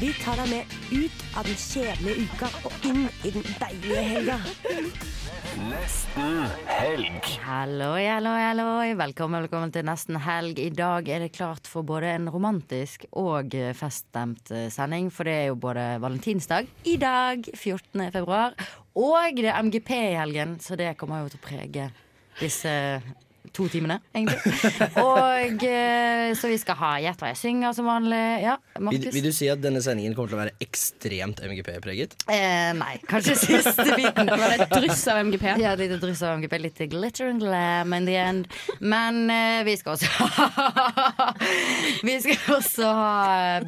Vi tar deg med ut av den kjedelige uka og inn i den er deilige helga. Halloi, halloi, halloi. Velkommen, velkommen til nesten helg. I dag er det klart for både en romantisk og eh, feststemt eh, sending. For det er jo både valentinsdag i dag, 14. februar, og det er MGP i helgen, så det kommer jo til å prege disse eh, to timene, egentlig. Og eh, så vi skal ha Gjett hva jeg synger som vanlig. Ja, Vil, Markus? vil du si at denne sendingen kommer til å være ekstremt MGP-preget? Eh, nei, kanskje siste biten. Det var et dryss av MGP. Ja, litt dryss av MGP, litt glitter and glam in the end. Men eh, vi skal også Vi skal også ha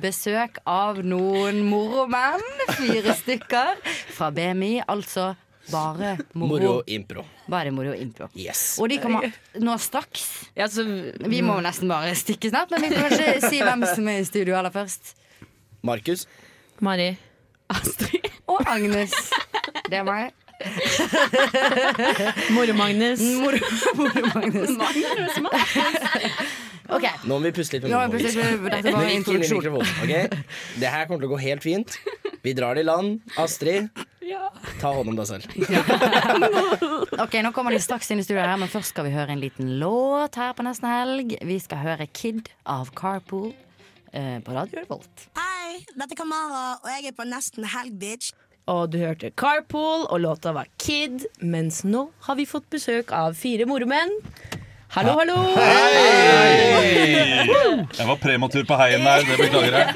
besøk av noen moromenn. Fire stykker fra BMI, altså bare Moro moro. impro. Bare moro impro. Yes. Og de kommer nå straks. Ja, så, Mm. Vi må jo nesten bare stikke snart, men vi kan kanskje si hvem som er i studio aller først. Markus, Mari. Astrid. Og Agnes. Det er meg. Moro-Magnus. Moro, moro Magnus. OK. nå må vi puste litt med Nå har jeg munnen. plutselig Dette Men ikke var inn i introduksjon. mikrofonen, ok? Det her kommer til å gå helt fint. Vi drar det i land. Astrid, ta hånd om deg selv. Ok, Nå kommer de straks inn i studio, her men først skal vi høre en liten låt her på nesten helg. Vi skal høre Kid av Carpool eh, på Radio Revolt. Hei, dette er Kamara, og jeg er på nesten helg, bitch. Og du hørte Carpool, og låta var Kid. Mens nå har vi fått besøk av fire moromenn. Hallo, hallo! Jeg var prematur på heien der, det beklager jeg.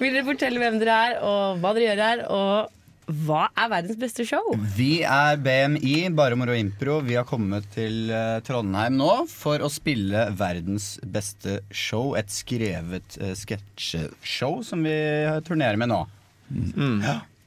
Vil dere fortelle hvem dere er, og hva dere gjør her, og hva er verdens beste show? Vi er BMI, Bare Moro Impro. Vi har kommet til eh, Trondheim nå for å spille verdens beste show. Et skrevet uh, sketsjeshow som vi eh, turnerer med nå.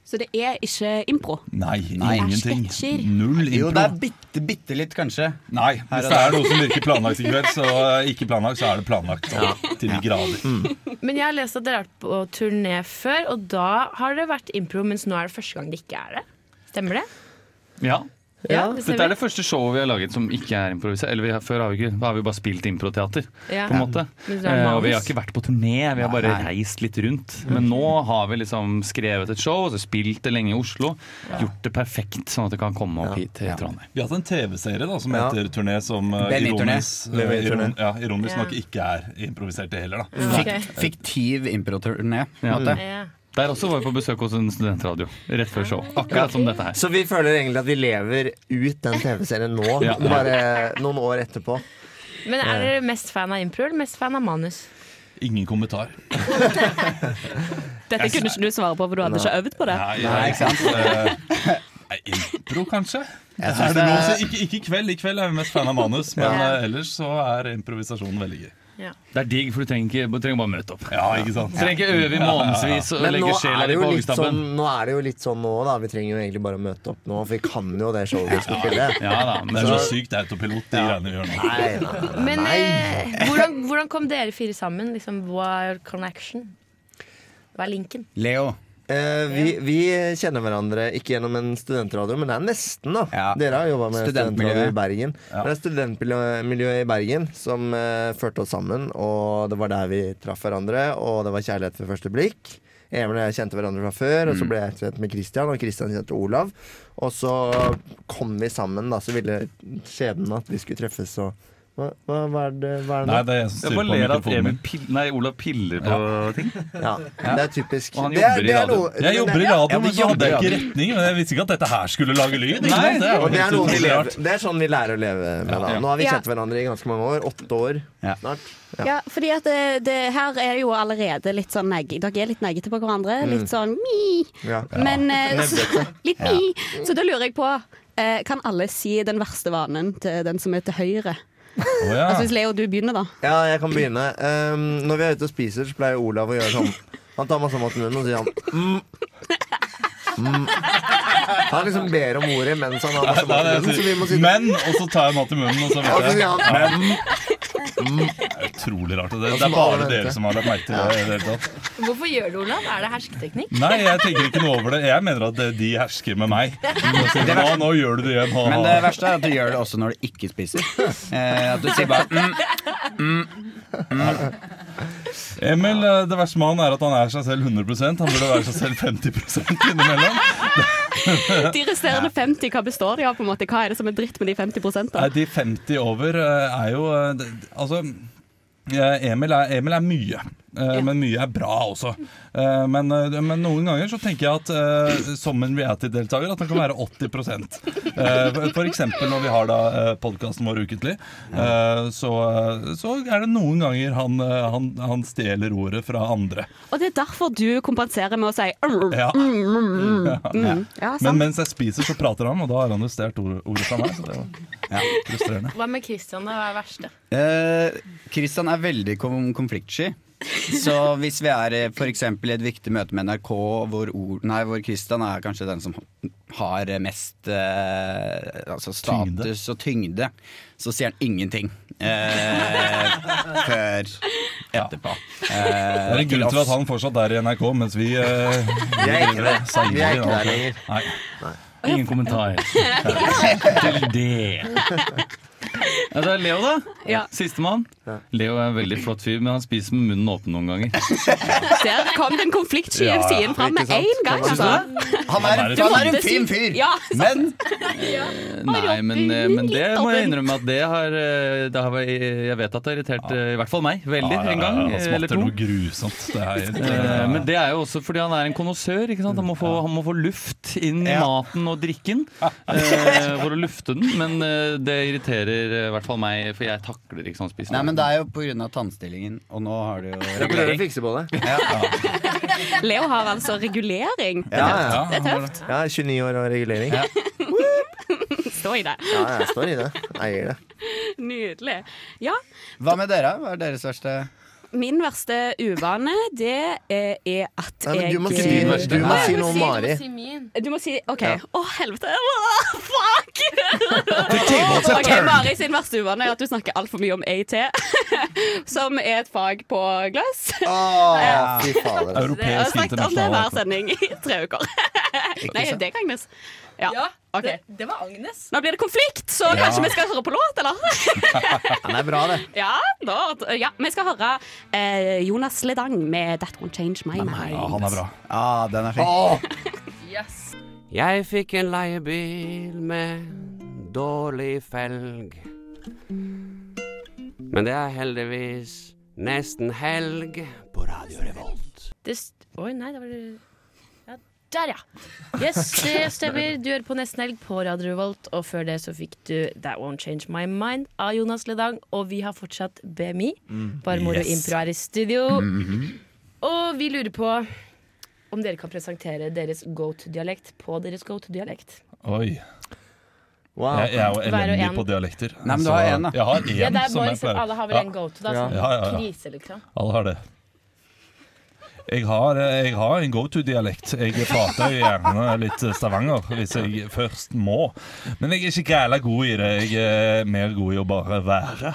Så det er ikke impro? Mm. Nei, Nei. ingenting. Er sketsjer. Null Jo, det impro. er bitte, bitte litt, kanskje. Nei, hvis og det er noe som virker planlagt i kveld, så eh, ikke planlagt, så er det planlagt. Til de grader. Mm. Men jeg har lest at dere har vært på turné før, og da har det vært impro, mens nå er det første gang det ikke er det. Stemmer det? Ja. Ja, det Dette er stemmer. det første showet vi har laget som ikke er improvisert. Eller vi har, før har vi, ikke, da har vi bare spilt improteater, Ja. på en måte. Men det er Eh, og vi manus. har ikke vært på turné, vi har bare Nei. reist litt rundt. Men nå har vi liksom skrevet et show, altså spilt det lenge i Oslo. Gjort det perfekt, sånn at det kan komme opp hit til Trondheim. Vi har hatt en TV-serie da, som heter Turné, som eh, BMI-turné. ironisk, eh, iron- ja, Ja. ironisk nok ikke er improvisert, det heller. Mm. da. Eh, Ok. Fiktiv improturné. på en Ja. måte. Ja. Der også var vi på besøk hos en studentradio rett før show. Akkurat som dette her. Så vi føler egentlig at vi lever ut den TV-serien nå, Ja. bare noen år etterpå. Men er dere mest fan av impro eller mest fan av manus? Ingen kommentar. Dette kunne ikke du svare på, for du hadde ikke øvd på det. Nei, ikke sant? Eh, Nei, impro, kanskje? Jeg Er synes det det noe som- er ikke, ikke i kveld. I kveld er vi mest fan av manus, men eh, ellers så er improvisasjonen veldig gøy. Det er digg, for du trenger, ikke- du trenger bare møte opp. Ja, ikke sant? Du trenger ikke øve i månedsvis og Men nå legge sjela er, det di jo på litt sånn, hoggestabben. nå er det jo litt sånn nå, da. Vi trenger jo egentlig bare å møte opp nå, for vi kan jo det showet vi skal spille. Ja da, men Det er så sykt autopilot, de greiene vi gjør nå. Nei, nei, nei. Men nei. eh, hvordan, hvordan kom dere fire sammen? Liksom, hva er connection? Hva er linken? Leo. Eh, vi, vi kjenner hverandre ikke gjennom en studentradio, men det er nesten, da. Ja. Dere har jobba med Studentmiljøet. studentmiljøet i Bergen. Men Det er studentmiljøet i Bergen som eh, førte oss sammen, og det var der vi traff hverandre, og det var kjærlighet ved første blikk. Even og jeg kjente hverandre fra før, Mm. og så ble jeg kjent med Christian, og Christian kjente Olav. Og så kom vi sammen, da, så ville skjebnen at vi skulle treffes, og hva, hva, hva er det, hva er det Nei, nå? det er jeg som Jeg styrer bare på ler at mikrofonen Emil min. pil, nei, Olav piller på ting. Ja, det er typisk. Og han jobber Det er- i det er radio. noe- Jeg jobber i Ja, radio, men men så hadde jeg jobber i ikke retning. Men jeg visste ikke at dette her skulle lage lyd. Ikke Nei, sant? Det er jo Og det er, helt noe vi utrolig lever, rart. det er sånn vi lærer å leve med. Da. Nå har vi kjent hverandre i ganske mange år. Åtte år Ja. snart. Ja, fordi at det, det her er jo allerede litt sånn negg. Dere er litt neggete på hverandre. Litt sånn mi. Ja. Men eh, altså- så, litt mi. Så da lurer jeg på eh, Kan alle si den verste vanen til den som er til høyre? Å, ja. Altså Hvis Leo du begynner, da. ja, jeg kan begynne. Ehm, når vi er ute og spiser, så pleier Olav å gjøre sånn. Han tar masse mat i munnen og sier han mm. Mm. Han liksom ber om ordet mens han har Nei, masse mat i nei, munnen, så vi må jeg sier, si Men, og så tar jeg mat i munnen, og så Ja, vet jeg. så sånn sier han- Men mm, det er utrolig rart. og Det, Ja, det så er må bare alle vente. dere som har lagt merke til det. i det hele tatt. Hvorfor gjør du Olav? Er det hersketeknikk? Nei, jeg tenker ikke noe over det. Jeg mener at eh, de hersker med meg. Nå, nå gjør du det igjen. ha, ha, Men ha. det verste er at du gjør det også når du ikke spiser. Eh, at du sier bare mm, mm, mm. Emil, eh, det verste med han er at han er seg selv 100 Han burde være seg selv 50 innimellom. De resterende 50, hva består de av? på en måte? Hva er det som er dritt med de 50 Nei, de 50 over eh, er jo eh, det- det- Altså, eh, Emil er, Emil er mye. eh, Men mye er bra også. Eh, Men, eh, men noen ganger så tenker jeg at eh, som en reality-deltaker at den kan være 80 Eh, for- For eksempel når vi har da podkasten vår ukentlig, eh, så, så er det noen ganger han, eh, han, han stjeler ordet fra andre. Og det er derfor du kompenserer med å si mm, Ja. mm, mm, mm, mm. Ja, Men sant. mens jeg spiser, så prater han, og da har han justert ordet ordet fra meg. Så det var frustrerende. Hva med Christian? da? Hva er det verste? Eh, Christian er veldig kom konfliktsky. Så hvis vi er eh, for eksempel i et viktig møte med NRK, hvor, ord, nei, hvor Christian er kanskje den som har mest eh, altså status og tyngde, så sier han ingenting eh, før etterpå. Eh, Det er en grunn Eh, til at han fortsatt er i NRK, mens vi, eh, Vi er ikke der. seiler Vi er i ikke der alt. lenger. Nei. Ingen kommentar til det. Ja, det er Leo, da. Ja. Sistemann. Leo er en veldig flott fyr, men han spiser med munnen åpen noen ganger. Der kom den konfliktskyen Ja, ja. siden fram med Ikke sant? én gang. Hva Altså. synes Han er, Du han er måtte en si- fin fyr, Ja, men Eh, Nei, men, eh, men det må jeg innrømme at det har, eh, det har vært- Jeg vet at det har irritert eh, i hvert fall meg veldig en gang Han eh, smatter eller to. noe grusomt. Det er helt, Eh, Men det er jo også fordi han er en konnoissør. ikke sant? Han må få, han må få luft inn i maten og drikken eh, for å lufte den. Men eh, det irriterer eh, i hvert fall meg, for jeg takler ikke sånn spising. Nei, men det er jo pga. tannstillingen, og nå har du jo Jeg prøver å fikse på det. Ja. Leo har altså regulering. Det Ja, er ja. tøft. Det er tøft. Jeg er 29 år og regulering. Ja, Stå i det. jeg står i det. Jeg eier det. Nydelig. Ja, Hva med dere? Hva er deres verste min verste uvane, det eh, er at Nei, men jeg du må si din verste. Du må Å, jeg si må noe om du må Mari. si min. Du må si OK. Å, Ja. helvete. Åh, fuck! tilbud seg Ok, tørn. Mari sin verste uvane er at du snakker altfor mye om AT, som er et fag på glass. Å, fy fader. altså. Jeg har Europeisk snakket om det hver internasjonal. sending i tre uker. Nei, det kan Agnes. Ja. ok. det, det var Agnes. Nå blir det konflikt, så kanskje vi skal høre på låt, eller? Den er bra, det. Ja, da, ja. Vi skal høre eh, Jonas Ledang med 'That Won't Change My Mind'. Ja, han er bra. ah, Den er fin. Jeg fikk en leiebil med dårlig felg. Men det er heldigvis nesten helg på Radio Revolt. Det st Oi, nei, det var det ja, Der, ja. Yes, det stemmer. Du hører på Nesten Helg på Radio Revolt, og før det så fikk du That Won't Change My Mind av Jonas Ledang, og vi har fortsatt BMI. Mm. Barmor og yes. Impro er i studio. Mm. Og vi lurer på om dere kan presentere deres go to-dialekt på deres go to-dialekt. Oi. Wow. Jeg, jeg er jo Hver og elendig en. på dialekter. Nei, men du så har en, da. Jeg har én Ja, det er som bare, jeg liksom, pleier. alle har vel Ja, en go to, da. Ja. Sånn Ja, ja, ja. krise, liksom. alle har det. Jeg har, eh, jeg har en go-to-dialekt. Jeg prater jo gjerne litt Stavanger hvis jeg først må. Men jeg er ikke gæla god i det. Jeg er mer god i å bare være.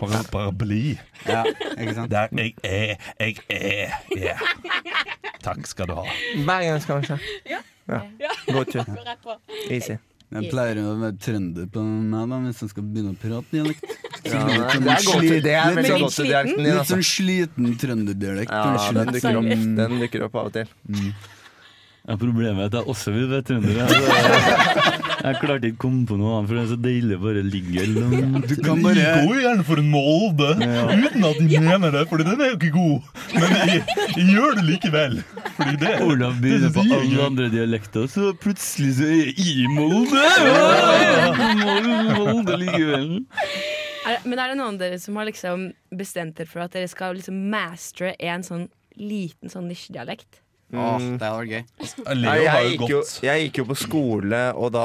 Bare, bare bli. Ja, ikke sant? Der jeg er, jeg er. Yeah. Takk skal du ha. Hver gang skal kanskje. Ja. Go to. Gå rett på. Easy. Jeg pleier å være trønder på meg da, hvis jeg skal begynne å prate dialekt. Ja, det er go to. Det er veldig go to-dialekten din, Litt altså. sånn sliten trønderdialekt. Ja, kanskje den litt dukker opp. sånn- Den dukker opp av og til. Mm. Ja, problemet er at jeg også vil være trønder. Jeg, Altså, jeg klarte ikke å komme på noe annet, for det er så deilig å bare ligge langt Du kan bare jo gjerne for en molde uten at de mener det, Fordi den er jo ikke god. Men de, de gjør det likevel. Fordi det Olav begynner på Det er alle gøy. andre dialekter, så plutselig så er jeg i Molde! Ja, Molde, Molde likevel. Er, men er det noen av dere som har liksom bestemt dere for at dere skal liksom mastere en sånn liten sånn nisjedialekt? Åh, det hadde vært gøy. Nei, jeg, gikk jo, jeg gikk jo på skole, og da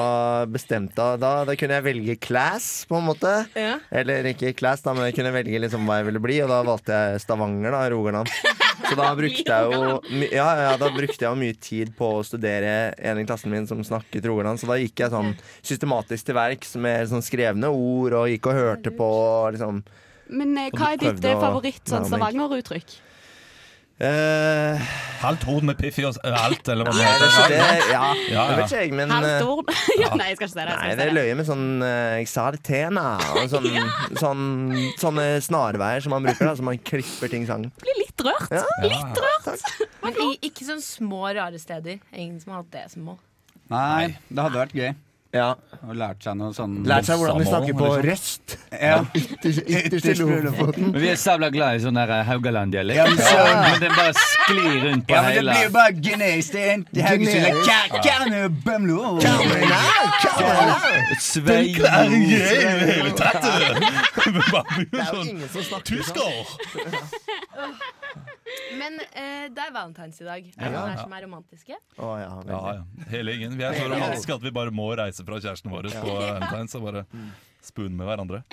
bestemte jeg da, da kunne jeg velge class, på en måte. Ja. Eller ikke class, da, men jeg kunne velge liksom hva jeg ville bli, og da valgte jeg Stavanger, da, Rogaland. Så da brukte jeg jo my- ja, ja, da brukte jeg jo mye tid på å studere en i klassen min som snakket rogaland, så da gikk jeg sånn systematisk til verks med sånn skrevne ord, og gikk og hørte på, liksom. Men eh, hva er ditt Prøvde eh, å favoritt sånn nærme meg. Stavanger-uttrykk? Eh, Halvt hode med piff i oss alt, eller hva det det, heter. ja, Ja, det vet ikke jeg, men eh, Halvt ord? ja, nei, jeg skal ikke si det. Nei, det Jeg skal er ikke si det. løye med sånn eh, exaltena og sånn, sånn, sånne snarveier som man bruker, da, så man klipper ting sammen. Blir litt rørt. Ja. Litt rørt. Men i, ikke sånn små, rare steder. Ingen som har hatt det som mål. Nei, det hadde vært gøy. Ja. Og lært seg noe sånn Lært seg hvordan vi snakker på Liksom. røst. Ja. Ytterst i Lofoten. Men vi er sabla glad i sånn der Haugaland-dialekt. Ja, men så- Men den bare sklir rundt på Ja, men det hele blir jo bare genetisk. Det er en Haugesund Genetisk. Ka- Karne- Bømlo. Svein hele tatt! Det er jo ingen som snakker sånn. Men eh, det er valentines i dag. Er det Ja. noen her som er romantiske? Å, ja, veldig. Ja, ja. Hele gjengen. Vi er så romantiske at vi bare må reise fra kjæresten vår på Valentine's og bare spoone med hverandre.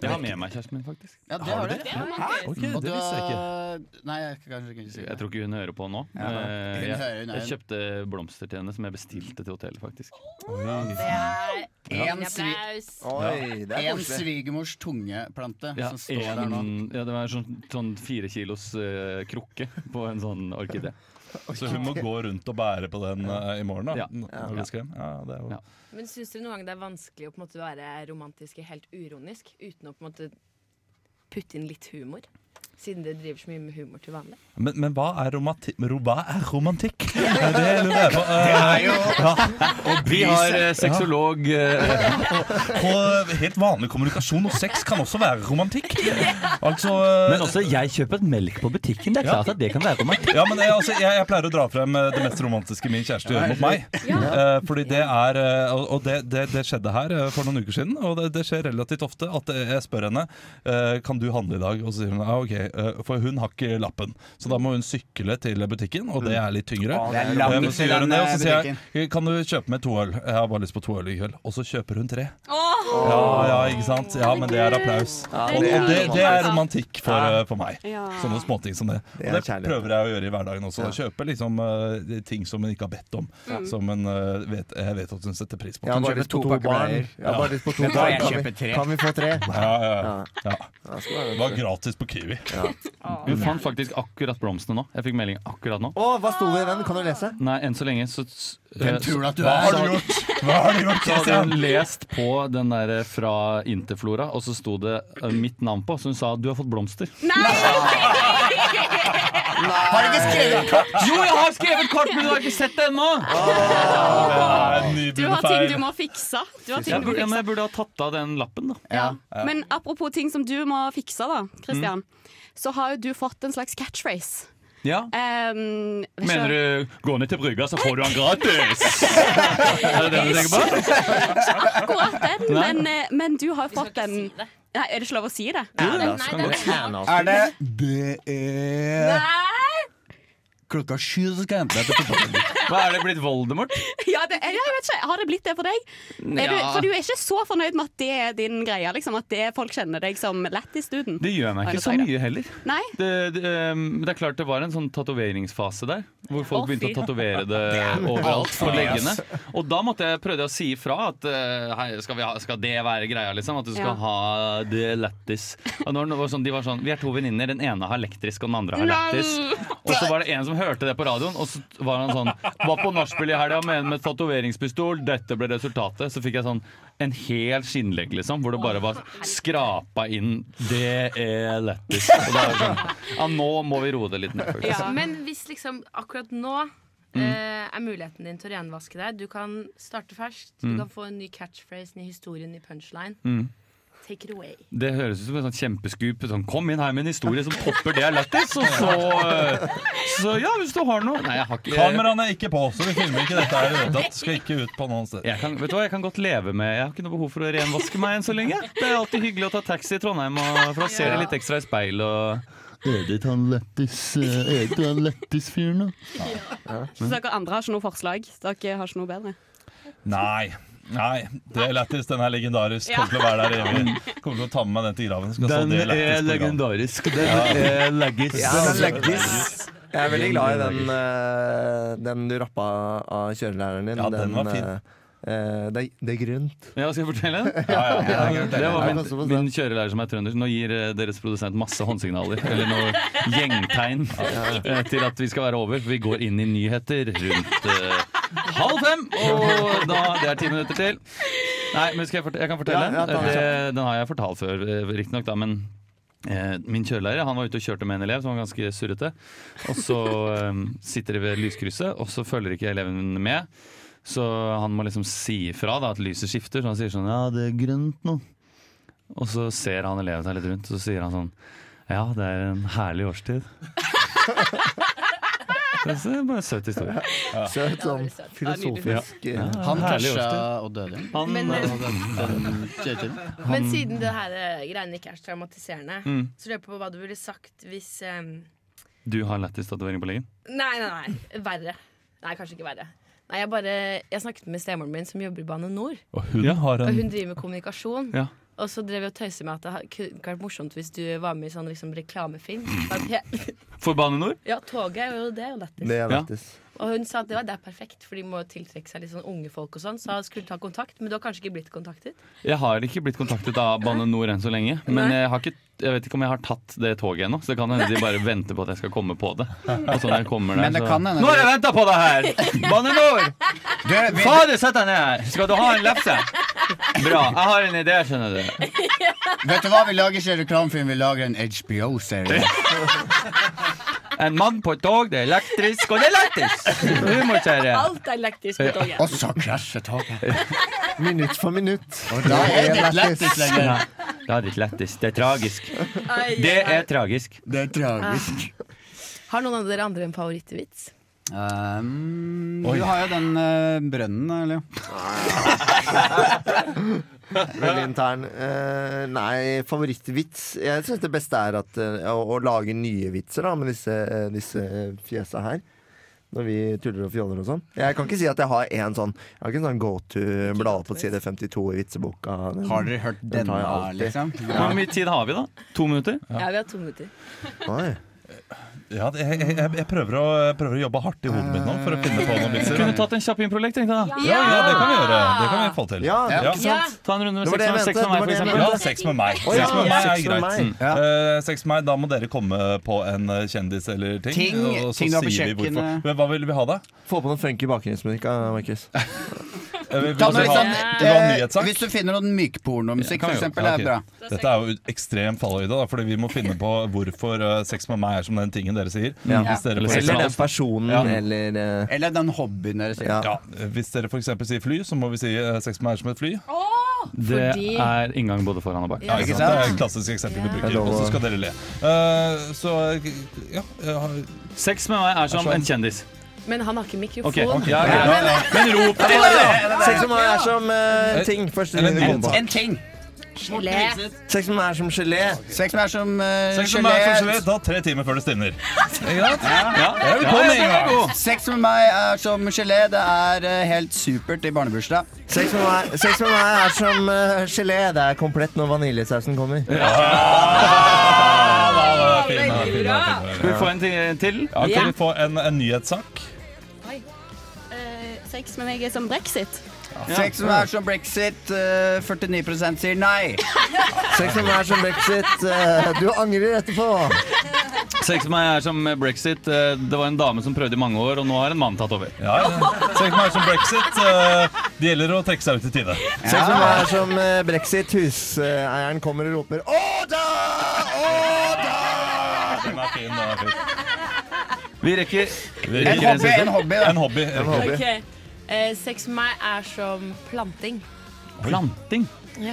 Jeg har med meg kjæresten min, faktisk. Ja, det har du. Ok, det visste jeg ikke. Nei, jeg kan kanskje ikke si Jeg det. tror ikke hun hører på nå. Ja, da. Eh, Hun hører, Jeg, jeg hun hører. kjøpte blomster til henne som jeg bestilte til hotellet, faktisk. Det er En, en svi applaus. Oi, det er en koselig. svigermors tungeplante Ja, som står der nå. en- ja det var en sånn, sånn fire kilos eh, krukke på en sånn orkidé. Så hun må gå rundt og bære på den eh, i morgen, da. Ja. Når Ja. du skal hjem. Ja, det er jo. Ja. Men syns dere noen ganger det er vanskelig å på en måte være romantiske helt uronisk? Uten å på en måte putte inn litt humor? Siden dere driver så mye med humor til vanlig. Men, men hva, er romati ro, hva er romantikk? Det lurer jeg på. Eh, ja. Vi har eh, sexolog eh, Og helt vanlig kommunikasjon og sex kan også være romantikk. Altså eh, Men også jeg kjøper melk på butikken. Det er Ja. klart at det kan være romantikk. Ja, men jeg, altså, jeg, jeg pleier å dra frem eh, det mest romantiske min kjæreste gjør mot meg. Eh, fordi det er eh, Og og det, det, det skjedde her eh, for noen uker siden, og det, det skjer relativt ofte at jeg spør henne eh, Kan du handle i dag. Og så sier hun ja, ok, eh, for hun har ikke lappen. Så da må hun sykle til butikken, og det er litt tyngre. Det er Eh, langt men så til gjør hun det, den, og så eh, sier jeg kan du kjøpe meg to øl. Jeg har bare lyst på to øl i kveld. Og så kjøper hun tre. Ja, ja, ikke sant. Ja, men det er applaus. Ja, Og, det er og det, det er romantisk. romantikk for, eh, for meg. Ja. Sånne småting som det. Det Det, er og det kjærlighet. prøver jeg å gjøre i hverdagen også. Kjøpe liksom eh, de ting som hun ikke har bedt om. Som hun eh, vet, jeg vet at hun setter pris på. Jeg har Hun bare kjøper- lyst på to to pakker barn. bleier. Jeg har bare lyst på to da barn. jeg Kan vi, kjøper tre. kan vi få tre? ja, ja, ja. Ja. ja. Ja, skal være Det var gratis på Kiwi. Hun fant faktisk akkurat blomstene nå. Jeg fikk melding akkurat nå. Å, hva sto det i den? Kan du lese? Nei, enn så lenge så eh, Hvem tror du at du Hva har er? du gjort? Hva har du gjort, Så hadde Christian? hun lest på den der eh, fra Interflora, og så sto det eh, mitt navn på. Så hun sa 'du har fått blomster'. Har du ikke skrevet kart? Jo, jeg har skrevet kort, men du har ikke sett det ennå! Det er en Du har ting nybegynnerfeil. du må fikse. Du har ting Jeg du må burde, ja, fikse. men jeg burde ha tatt av den lappen, da. Ja. Men apropos ting som du må fikse, da, Christian. Så har jo du fått en slags catchphrase. Ja. Um, Mener du 'gå ned til brygga, så får du den gratis'? er det det du tenker på? Akkurat den, Nei. men, eh, men du har jo fått skal ikke den si det. Nei, Er det ikke lov å si det? Er det Det er Klokka sju så skal jeg hente deg til fotballen. Hva er det blitt Voldemort? Ja, det, ja, jeg vet ikke. Har det blitt det for deg? Er du, for du er ikke så fornøyd med at det er din greie? Liksom, at det, folk kjenner deg som lættis-duden? Det gjør meg ikke så Nei, det tar jeg. mye heller. Nei? Det, det, ehm, det er klart det var en sånn tatoveringsfase der, hvor folk Å, fy. begynte å tatovere det overalt på leggene. Og da måtte jeg prøvde jeg å si ifra at eh, hei, skal, vi ha, skal det være greia, liksom? At du skal Ja. ha det lættis. Og når det var sånn, de var sånn Vi er to venninner, den ene har elektrisk, og den andre har lættis. Og så var det en som hørte det på radioen, og så var han sånn Var på nachspiel i helga med en med tatoveringspistol, dette ble resultatet. Så fikk jeg sånn en hel skinnlegg, liksom, hvor det bare var skrapa inn. Det er lættis. Og da er det sånn Ja, nå må vi roe det litt ned først. Ja. Men hvis liksom akkurat nå eh, er muligheten din til å renvaske deg Du kan starte ferskt. Du kan få en ny catchphrase, ny historie, ny punchline. Mm. Take it away. Det høres ut som en sånn kjempeskup. Sånn, kom inn her med en historie som topper det jeg har lættis. Og så, eh, så ja, hvis du har noe Nei, jeg har ikke Kameraene er ikke på, så vi filmer ikke dette her. i det hele tatt. Skal ikke ut på noen sted. jeg kan, vet du hva, jeg kan godt leve med Jeg har ikke noe behov for å renvaske meg enn så lenge. Det er alltid hyggelig å ta taxi i Trondheim og, for da ser jeg litt ekstra i speil. Og Edith han lættis Edith han lættis-fyren, da. Ja. Så dere andre har ikke noe forslag? Dere har ikke noe bedre? Nei. Nei, det er lættis. Den er legendarisk. Kommer til å være der evig. Kommer til å ta med meg den til graven. Skal stå Den det lættis er på graven. legendarisk. Den Ja. er leggis. Ja, den er leggis. Jeg er veldig glad i den, eh, den du rappa av kjørelæreren din. Ja, den var fin. eh, eh, det, er- det er grønt. Ja, skal jeg fortelle den? ja, ja, jeg kan det fortelle. var min, Jeg kan også fortelle. min kjørelærer som er trønder. Nå gir eh, deres produsent masse håndsignaler, eller noe gjengtegn, eh, til at vi skal være over. For vi går inn i nyheter rundt eh, halv fem, og da, det er ti minutter til. Nei, men skal jeg, fort jeg kan fortelle Ja, ja, den. ta den. det, den har jeg fortalt før, eh, riktignok, da. Men eh, min kjørelærer han var ute og kjørte med en elev som var ganske surrete. Og så eh, sitter de ved lyskrysset, og så følger ikke eleven med. Så han må liksom si ifra da, at lyset skifter, så han sier sånn Ja, det er grønt nå. Og så ser han eleven seg litt rundt, og så sier han sånn Ja, det er en herlig årstid. det er bare en søt historie. Ja. Søt sånn filosofisk Ja. eh, Han Herlig krasja årstid. og døde. Han- Den- Men- den kjørte. eh, Men siden det her eh, greiene ikke er så traumatiserende, Mm. så lurer jeg på hva du ville sagt hvis eh, Du har lættis-tatovering på leggen? Nei, nei, nei. Verre. Nei, kanskje ikke verre. Nei, jeg bare Jeg snakket med stemoren min som jobber i Bane Nor. Og hun har Og en hun driver med kommunikasjon. Ja. Og så drev jeg og tøyset med at det ha- kunne ikke vært morsomt hvis du var med i sånn liksom, reklamefilm. At jeg- For Bane NOR? Ja, toget er jo det er jo lættis. Det er Ja. lættis. Og hun sa at det, var, det er perfekt, for de må tiltrekke seg litt sånn unge folk og sånn. Så jeg skulle ta kontakt, men du har kanskje ikke blitt kontaktet? Jeg har ikke blitt kontaktet av Bane NOR enn så lenge. Men jeg, har ikke, jeg vet ikke om jeg har tatt det toget ennå, så det kan hende de bare venter på at jeg skal komme på det. Og så når jeg kommer der, Men det så kan hende Nå har jeg du- venta på deg her! Bane NOR! Du, vi- Fader, sett deg ned! Skal du ha en lefse? Bra. Jeg har en idé, skjønner du. Vet du hva, vi lager ikke reklamefilm, vi lager en HBO-serie. En mann på et tog, det er elektrisk, og det er lættis! Humorserie. Alt er elektrisk på toget. Og så krasjer toget. Minutt for minutt. Og da er det lættis Ja, lenger. det er ikke lættis. Det er tragisk. Ai, Det ai. er tragisk. Det er tragisk. Ah. Har noen av dere andre en favorittvits? Um, du har jo den eh, brønnen, eller? Veldig intern. Eh, nei, favorittvits Jeg syns det beste er at, eh, å, å lage nye vitser da, med disse, eh, disse fjesa her. Når vi tuller og fjoller og sånn. Jeg kan ikke si at jeg har en sånn Jeg har ikke en sånn go to blad på side 52 i vitseboka. Den- Har dere hørt den denne, tar jeg alltid. liksom? Hvor mye tid har vi, da? To minutter? Ja, vi har to minutter. Oi. Ja, det- jeg, jeg, jeg, prøver å, jeg prøver å jobbe hardt i hodet mitt nå for å finne på noen vitser. Kunne tatt en kjapp improlekt, tenkte jeg. da. Ja, ja, det kan vi gjøre. Det kan vi få til. Ja, ikke sant? Ta en runde med Det var det sex med- jeg sex mente, med meg, det var Ja, for eksempel. det jeg mente. sex med meg. Å, ja, Sex med meg er sex med greit. meg. Mm. Eh, sex med meg, Da må dere komme på en eh, kjendis eller ting. Ting- og så ting du har på sier vi hvorfor. kjøkkenet. Men Hva vil vi ha, da? Få på noe funky bakgrunnsmusikk, da, Markus. Eh, vi- vi Ta må noe litt ha- sånn, vi må ha eh, nyhetssak. hvis du finner noen mykpornomusikk, Kan for vi gjøre. eksempel, Ja, det er bra. ok. Dette er jo ekstrem fallhøyde, da, fordi vi må finne på hvorfor eh, sex med meg er som den tingen dere sier. Ja. Hvis dere Eller for sex Eller eksempel- med den personen, Ja. eller eh, Eller den hobbyen deres. Ja. ja, Hvis dere f.eks. sier fly, så må vi si eh, sex med meg er som et fly. Det er inngang både foran og bak. Ja, ikke sant? Det er et klassisk eksempel vi bruker, Ja. og så skal dere le. Eh, så ja eh, har- Sex med meg er sånn. som en kjendis. Men han har ikke mikrofon. eh, Ok, ja, greit. Men rop det, da! Sex med meg er som eh, ting. Første linje Eller kom på. En ting. Gelé. Sex med meg er som gelé. Sex med er som eh, Sex med meg er som gelé. gelé, da tre timer før det stivner. Ja, ja, vi kommer den er en gang. god. Sex med meg er som gelé. Det er eh, helt supert i barnebursdag. Sex med meg, sex med meg er som eh, gelé. Det er komplett når vaniljesausen kommer. Ja, da, det er fin, da, fin, da, fin, da, fin. Skal vi få en ti- til? Ja, kan vi få en, en nyhetssak? Eh, sex med meg er som brexit. Sex med meg er som brexit. eh, 49 sier nei. Sex med meg er som brexit. eh, Du angrer etterpå. Sex med meg er som brexit. Eh, Det var en dame som prøvde i mange år, og nå har en mann tatt over. Ja, ja. Sex med meg er som brexit. eh, det gjelder å trekke seg ut i tide. Sex med meg er som eh, brexit. Huseieren kommer og roper 'Åda! Åda!' Ah, Den er fin, den er fin. Vi rekker Vi En liker den hobby, siste. en hobby. Da. En hobby. En hobby. Ok. Eh, sex med meg er som planting. planting. eh,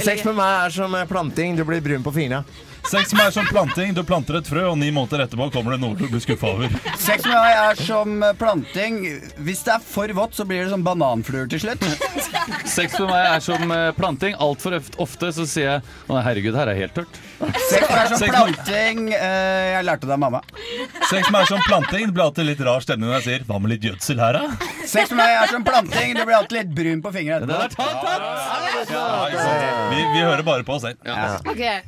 Sex med meg er som eh, planting. Du blir brun på fingra. Sex med meg er som planting. Du planter et frø, og ni måneder etterpå kommer det noe du blir skuffa over. Sex med meg er som planting. Hvis det er for vått, så blir det som bananfluer til slutt. Sex med meg er som eh, planting. Altfor ofte så sier jeg Å, herregud, her er helt tørt. Sex med meg er som Sex planting. eh, Jeg lærte det av mamma. Sex med meg er som planting. Det blir alltid litt rar stemning når jeg sier Hva med litt gjødsel her, da? Sex med meg er som planting. Du blir alltid litt brun på fingrene etterpå. Det er tatt, tatt. Ja, vi, vi, hører bare på oss selv. Ja. Okay.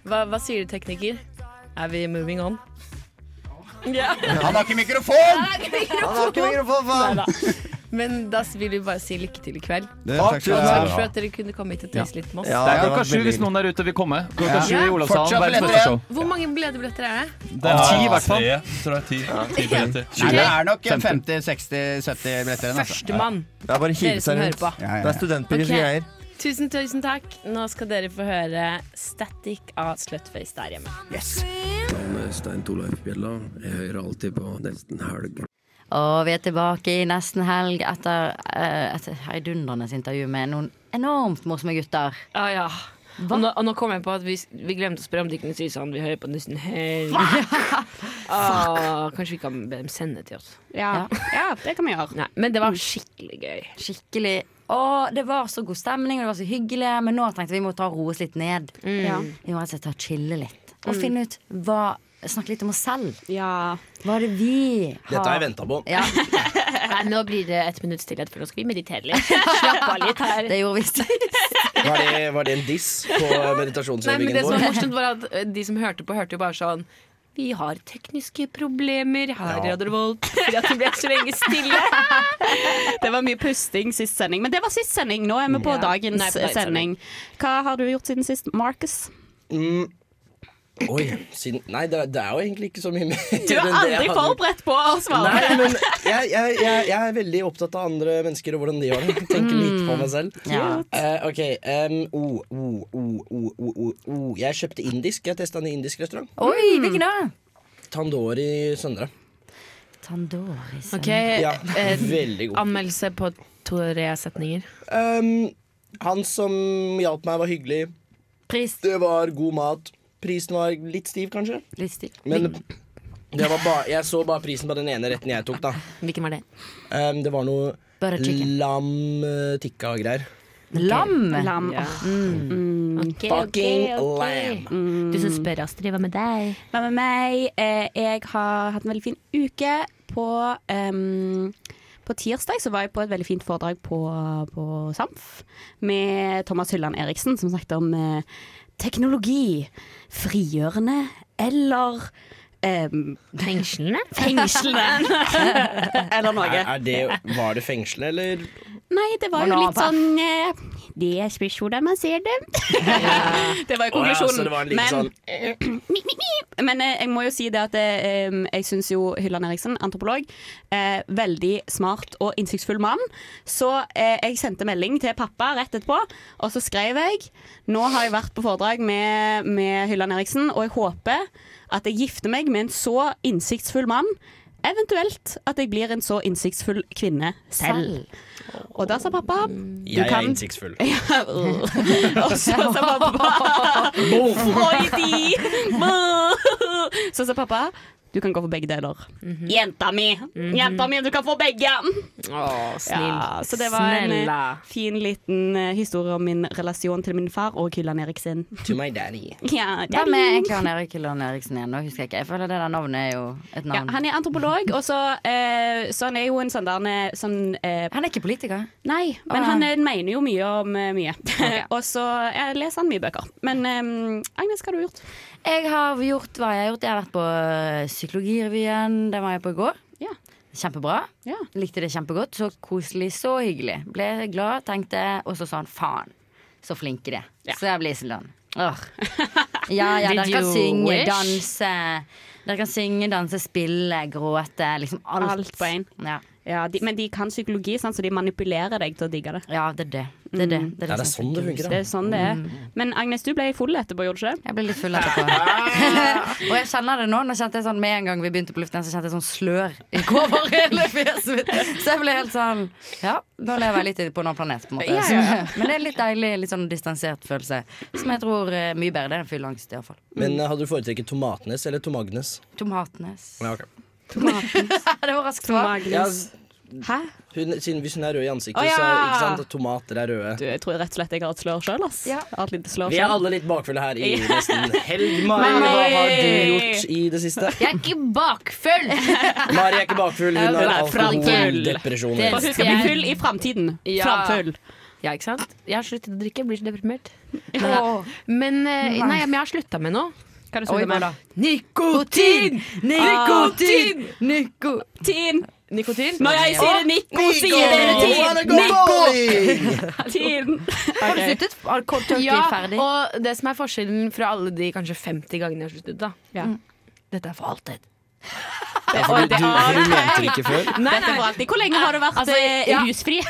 Hva, hva sier du, tekniker? Er vi moving on? Ja. Han har ikke mikrofon! Ah, Han har ikke mikrofon, faen! Men da vil vi bare si lykke til i kveld. Det, takk, takk, takk for at dere kunne komme hit og tøyse litt med oss. Ja, det er klokka sju hvis noen der ute vil komme. Klokka sju i Olavshallen. Hvor mange ledebilletter er det? Det er ti, i hvert fall. Det er nok 50-60-70 billetter igjen. altså. Førstemann. Det er bare å hive seg rundt. Det er studentbyens greier. Tusen, tusen takk. Nå skal dere få høre Static av Slutface der hjemme. Yes. eh, Stein Torleif Bjella. Jeg hører alltid på Nesten Helg. Og vi er tilbake i nesten helg etter eh, et heidundrende intervju med noen enormt morsomme gutter. Ah, ja. Og nå, og nå, kom jeg på at vi, vi glemte å spørre om de kunne si sånn Vi hører på nesten helg. ah, kanskje vi kan be dem sende til oss. Ja, ja. ja det kan vi gjøre. Nei, men det var skikkelig gøy. Skikkelig. Og det var så god stemning, og det var så hyggelig. Men nå tenkte vi må ta roe oss litt ned. Mm. Ja. Vi må rett og slett ta chille litt. Og mm. finne ut hva snakke litt om oss selv. Ja. Hva er det vi har Dette har jeg venta på. Ja. Nei, nå blir det et minutts stillhet, for nå skal vi meditere litt. Slapp av litt her. Det gjorde vi sist. Var, var, det en diss på meditasjonsøvingen vår? Det som var morsomt, var at eh, de som hørte på, hørte jo bare sånn vi har tekniske problemer her, ja. Radarvold. Fordi at det ble så lenge stille. det var mye pusting sist sending. Men det var sist sending. Nå er vi på ja. dagens Nei, på sending. Hva har du gjort siden sist, Marcus? Mm. Oi, siden, Nei, det, det, er jo egentlig ikke så mye mer. Du er aldri forberedt på å svare. Nei, men jeg, jeg, jeg, jeg, er veldig opptatt av andre mennesker og hvordan de har det. Tenker litt på meg selv. Ja. Uh, ok. Um, oh, oh, oh, jeg kjøpte indisk. Jeg testa en indisk restaurant. Oi, hvilken da? Tandori Søndre. Tandori Søndre. Ok, eh, ja, veldig god. Anmeldelse på to-tre setninger. Um, han som hjalp meg, var hyggelig. Pris. Det var god mat. Prisen var litt stiv, kanskje. Litt stiv. Men ba, jeg så bare prisen på den ene retten jeg tok, da. Hvilken var det? Um, det var noe lam eh, tikka-greier. Okay. Lam? lam. Ja. Mm. Mm. Okay, Fucking okay, lam. Mm. Du som spør, Astrid. Hva med deg? Hva med meg? Eh, jeg har hatt en veldig fin uke på um, på tirsdag så var jeg på et veldig fint foredrag på, på SAMF med Thomas Hylland Eriksen, som snakket om eh, teknologi frigjørende eller um, Fengslende? Fengslende. eller noe. Er, er det, var det fengslende, eller? Nei, det var jo litt sånn eh, Det spørs hvordan man ser det. det var jo konklusjonen. Oh, ja, var men, eh, sånn... men eh, jeg må jo si det at eh, jeg syns jo Hylland Eriksen, antropolog, eh, veldig smart og innsiktsfull mann. Så eh, jeg sendte melding til pappa rett etterpå, og så skrev jeg Nå har jeg vært på foredrag med, med Hylland Eriksen, og jeg håper at jeg gifter meg med en så innsiktsfull mann. Eventuelt at jeg blir en så innsiktsfull kvinne selv. Og da sa pappa Jeg er innsiktsfull. Ja, og så sa pappa Freudy! så sa pappa du kan gå for begge deler. Mm -hmm. Jenta mi! Mhm. Jenta mi, du kan få begge! Åh, snill. Ja, så det var Snella. en eh, fin liten eh, historie om min relasjon til min far og Kylland Eriksen. To my daddy. Ja, Hva med Kylland Erik Kylland Eriksen igjen? Nå husker jeg ikke. Jeg føler det der navnet er jo et navn. Ja, han er antropolog, og så, eh, så han er jo en sånn der sånn, eh, Han er ikke politiker? Nei, men oh, han er, mener jo mye om eh, mye. Okay. og så jeg leser han mye bøker. Men eh, Agnes, hva har du gjort? Jeg har gjort hva jeg har gjort. Jeg har vært på eh, Psykologirevyen. Den var jeg på i går. Ja. Kjempebra. Ja. Likte det kjempegodt. Så koselig, så hyggelig. Ble glad, tenkte, og så sa han faen, så flinke de er. Ja. Så jeg blir sånn. Åh. Ja, ja, dere kan synge, wish? danse. Dere kan synge, danse, spille, gråte. Liksom alt. alt på én. Ja. Ja, de, men de kan psykologi, sant, så de manipulerer deg til å digge det. Ja, det er det. Det er, det. Det er, Mm. Ja, det er sånn det funker, da. Det er sånn det er. Men Agnes, du ble full etterpå, gjorde du ikke det? Jeg ble litt full etterpå. og jeg kjenner det nå. Nå kjente jeg sånn Med en gang vi begynte på luften, igjen, så kjente jeg sånn slør i over hele fjeset mitt. Så jeg ble helt sånn Ja, nå lever jeg litt på en annen planet, på en måte. Ja, ja, ja. Så- Men det er en litt deilig, litt sånn distansert følelse. Som jeg tror er mye bedre enn fylleangst, iallfall. Men eh, hadde du foretrekket Tomatnes eller Tomagnes? Tomatnes. Ja, ok. det var raskt svar. Ja, Hæ? hun, siden, hvis hun er rød i ansiktet, Å, ja! så er ikke sant, at tomater er røde. Du, jeg tror rett og slett jeg har et slør sjøl, ass. Ja. Jeg har et lite slør Vi er selv. alle litt bakfulle her i Ja. nesten helg. Mari, Men- hva har du gjort i det siste? Jeg er ikke bakfull! Mari er ikke bakfull, hun Hun har er framfull. alkoholdepresjon. Det- For hun skal bli full i framtiden. Ja. Framfull. Ja, ikke sant? Jeg har sluttet å drikke, jeg blir så deprimert. Men, eh, nei, men jeg har slutta med noe. Hva er det Oi, som er da? da. Nikotin! Ah, Nikotin! Niko... Tin! Nikotin. Når jeg sier det Nico, sier dere tin! Tin! Har du sluttet? Har kort tørket Ja, ferdig? og det som er forskjellen fra alle de kanskje 50 gangene jeg har sluttet, da. Mm. Ja. Dette er for alltid. Ja, for du, du, for du mente det ikke før? Dette var alltid. Hvor lenge har du vært Altså, Eh, eh, ja. rusfri?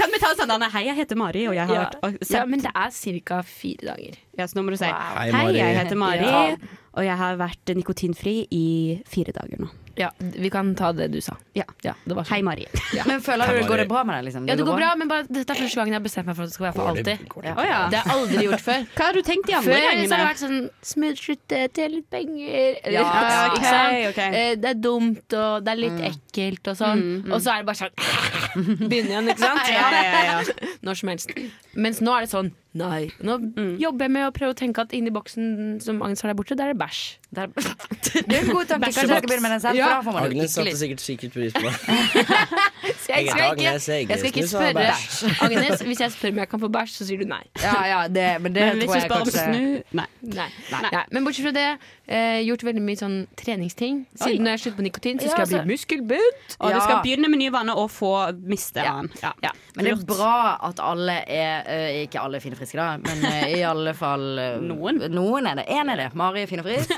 kan vi ta en sånn Anne, Hei, jeg heter Mari, og jeg har Ja. vært ja, men det er ca. fire dager. Ja, så nå må du si Hei, Hei, Mari. jeg heter Mari, Ja. og jeg har vært nikotinfri i fire dager nå. Ja, vi kan ta det du sa. Ja. det var sånn. Hei, Mari. Men føler du det går det bra med deg? liksom? Ja, det går bra, men bare, dette er første gangen jeg har bestemt meg for at det skal være for Går det- alltid. går det Å ja. Det har jeg aldri gjort før. Hva har du tenkt de andre Før så har det gangene? vært sånn Smoothslutte, eh, tjene litt penger eller, Ja, ikke sant? ok, ok. Eh, Det er dumt, og det er litt ekkelt og sånn. Og så er det bare sånn Mm. Begynner igjen, ikke sant? Ja, ja, ja, ja. Når som helst. Mens nå er det sånn Nei. Nå jobber jeg med å prøve å tenke at inni boksen som Agnes har der borte, der er det bæsj. Der- Det er en god tanke. Kanskje jeg skal begynne med den selv? Ja. For da får man jo Agnes ikke satte sikkert litt sikkert pris på det. Jeg heter skal ikke, jeg Agnes, jeg skal ikke snus og har spørre Agnes, hvis jeg spør om jeg kan få bæsj, så sier du nei. Ja, ja, det, men det Men hvis tror du jeg spør om kanskje snu Nei. Nei. Nei. Men bortsett fra det, eh, gjort veldig mye sånn treningsting. Siden når jeg slutter på nikotin, så Ja, skal jeg altså- bli muskelbunt. Og Ja. du skal begynne med nye vaner og få miste Ja. den. Ja. Ja. Men det er bra at alle er eh, Ikke alle er fine og friske, da, men eh, i alle fall eh, Noen. Noen er det. Én er det. Mari er fin og frisk.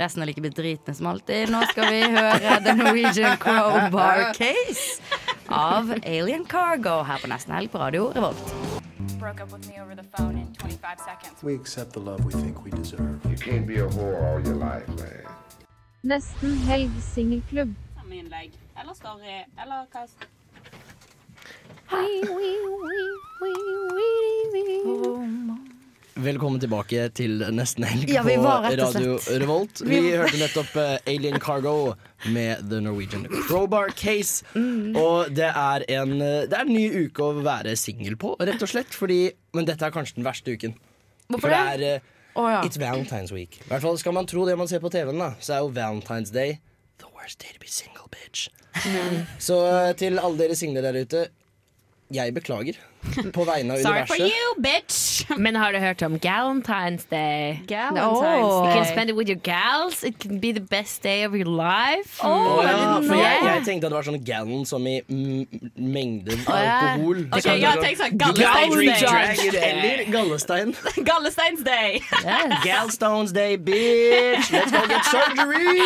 Resten er like bedritne som alltid. Nå skal vi høre The Norwegian Crowbar Case av Alien Cargo her på Nesten Helg på Radio Revolt. Nesten helg singelklubb. Samme innlegg. Eller story. Eller hva Velkommen tilbake til Nesten helg Ja, vi på var rett og Radio slett- Revolt. Vi hørte nettopp eh, Alien Cargo med The Norwegian Crowbar Case. Mm. Og det er en eh, Det er en ny uke å være singel på, rett og slett. Fordi, men dette er kanskje den verste uken. For det er eh, Å, ja. It's Valentine's Week. I hvert fall Skal man tro det man ser på TV-en, da så er jo Valentine's Day the worst day to be single, bitch. Så eh, til alle dere single der ute, jeg beklager på vegne av Sorry for universet. you, bitch! Men har du hørt om Galentine's Day? You can spend it with your gals. It can be the best day of your life. Å ja, didn't for jeg, know. jeg tenkte at det var sånn gallon som i mm, mengden ja. alkohol. Ok, Så ja, sånn- tenk sånn, You can Gallesteins drink Day. dragon Eller gallestein. Gallesteins Day! Gallstones day, bitch! Let's go get surgery!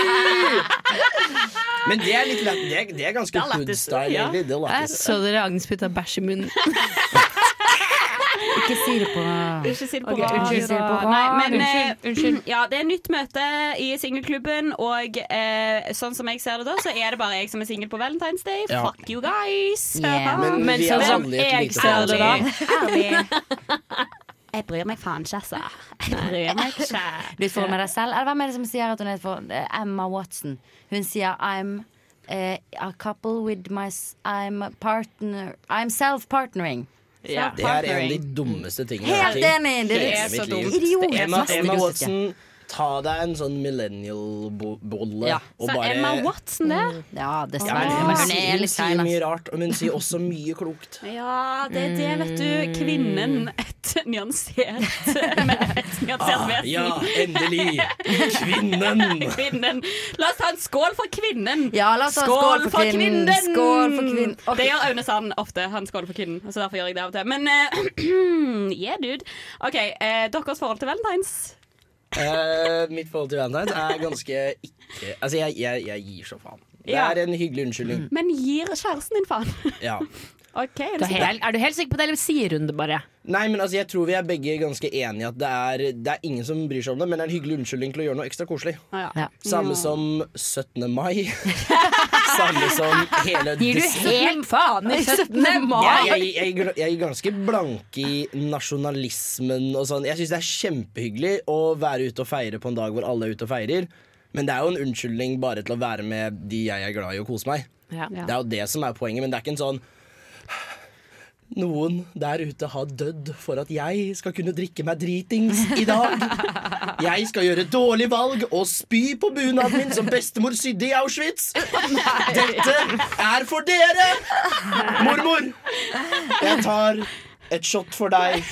Men det er litt lett. Det er, det er ganske er lættis, hood-style, ja. egentlig. Det er Jeg lættis. så dere Agnes putta bæsj i munnen. Ikke si det på Ikke si det på Ok, radio, unnskyld, da. si det på radio. Nei, men, Unnskyld, eh, unnskyld. Ja, det er nytt møte i singelklubben, og eh, sånn som jeg ser det da, så er det bare jeg som er singel på Valentine's Day. Ja. Fuck you guys! Yeah. Men vi er sånn alle i et lite ærlig, Jeg bryr meg faen ikke, altså. Jeg bryr meg ikke. Du er for med deg selv? Eller hvem er det som sier at hun er for eh, Emma Watson? Hun sier I'm eh, a couple with my s- I'm a partner I'm self-partnering. Ja. Det er en av de dummeste tingene Helt jeg har tenkt enig, det er hele så mitt dumt. liv. Idiot. Emma, Mest Emma idiotiske. Watson, ta deg en sånn millennial-bolle Ja, og Så bare Emma Watson, Ja, det. Ja, men dessverre. hun, men hun sier, er hun litt altså. sier sein. mye ass. altså. rart, men hun sier også mye klokt. Ja, det er det, vet du. Kvinnen. Et nyansert Men et nyansert vesen. Ja, endelig! Kvinnen! Kvinnen. La oss ta en skål for kvinnen. Ja, la oss ta en skål for kvinnen. Skål for kvinnen. Ok. Det gjør Aune Sand ofte. Han skåler for kvinnen. Så derfor gjør jeg det av og til. Men eh, yeah, dude. OK, eh, deres forhold til valentines. Eh, mitt forhold til Valentine's er ganske ikke Altså, jeg, jeg, jeg gir så faen. Ja. Mm. Det er en hyggelig unnskyldning. Men gir kjæresten din faen? Ja. Ok, er Du du er, helt, er du helt sikker på det, eller sier hun det bare? Nei, men altså, jeg tror vi er begge ganske enige at det er, det er ingen som bryr seg om det, men det er en hyggelig unnskyldning til å gjøre noe ekstra koselig. Ja. Samme som 17. mai. Samme som hele Gir du dis- helt faen i 17. Jeg, mai? jeg, jeg, gl- jeg er ganske blank i nasjonalismen og sånn. Jeg syns det er kjempehyggelig å være ute og feire på en dag hvor alle er ute og feirer. Men det er jo en unnskyldning bare til å være med de jeg er glad i, og kose meg. Ja. Det er jo det som er poenget, men det er ikke en sånn Noen der ute har dødd for at jeg skal kunne drikke meg dritings i dag. Jeg skal gjøre dårlig valg og spy på bunaden min som bestemor sydde i Auschwitz. Dette er for dere! Mormor, jeg tar et shot for deg.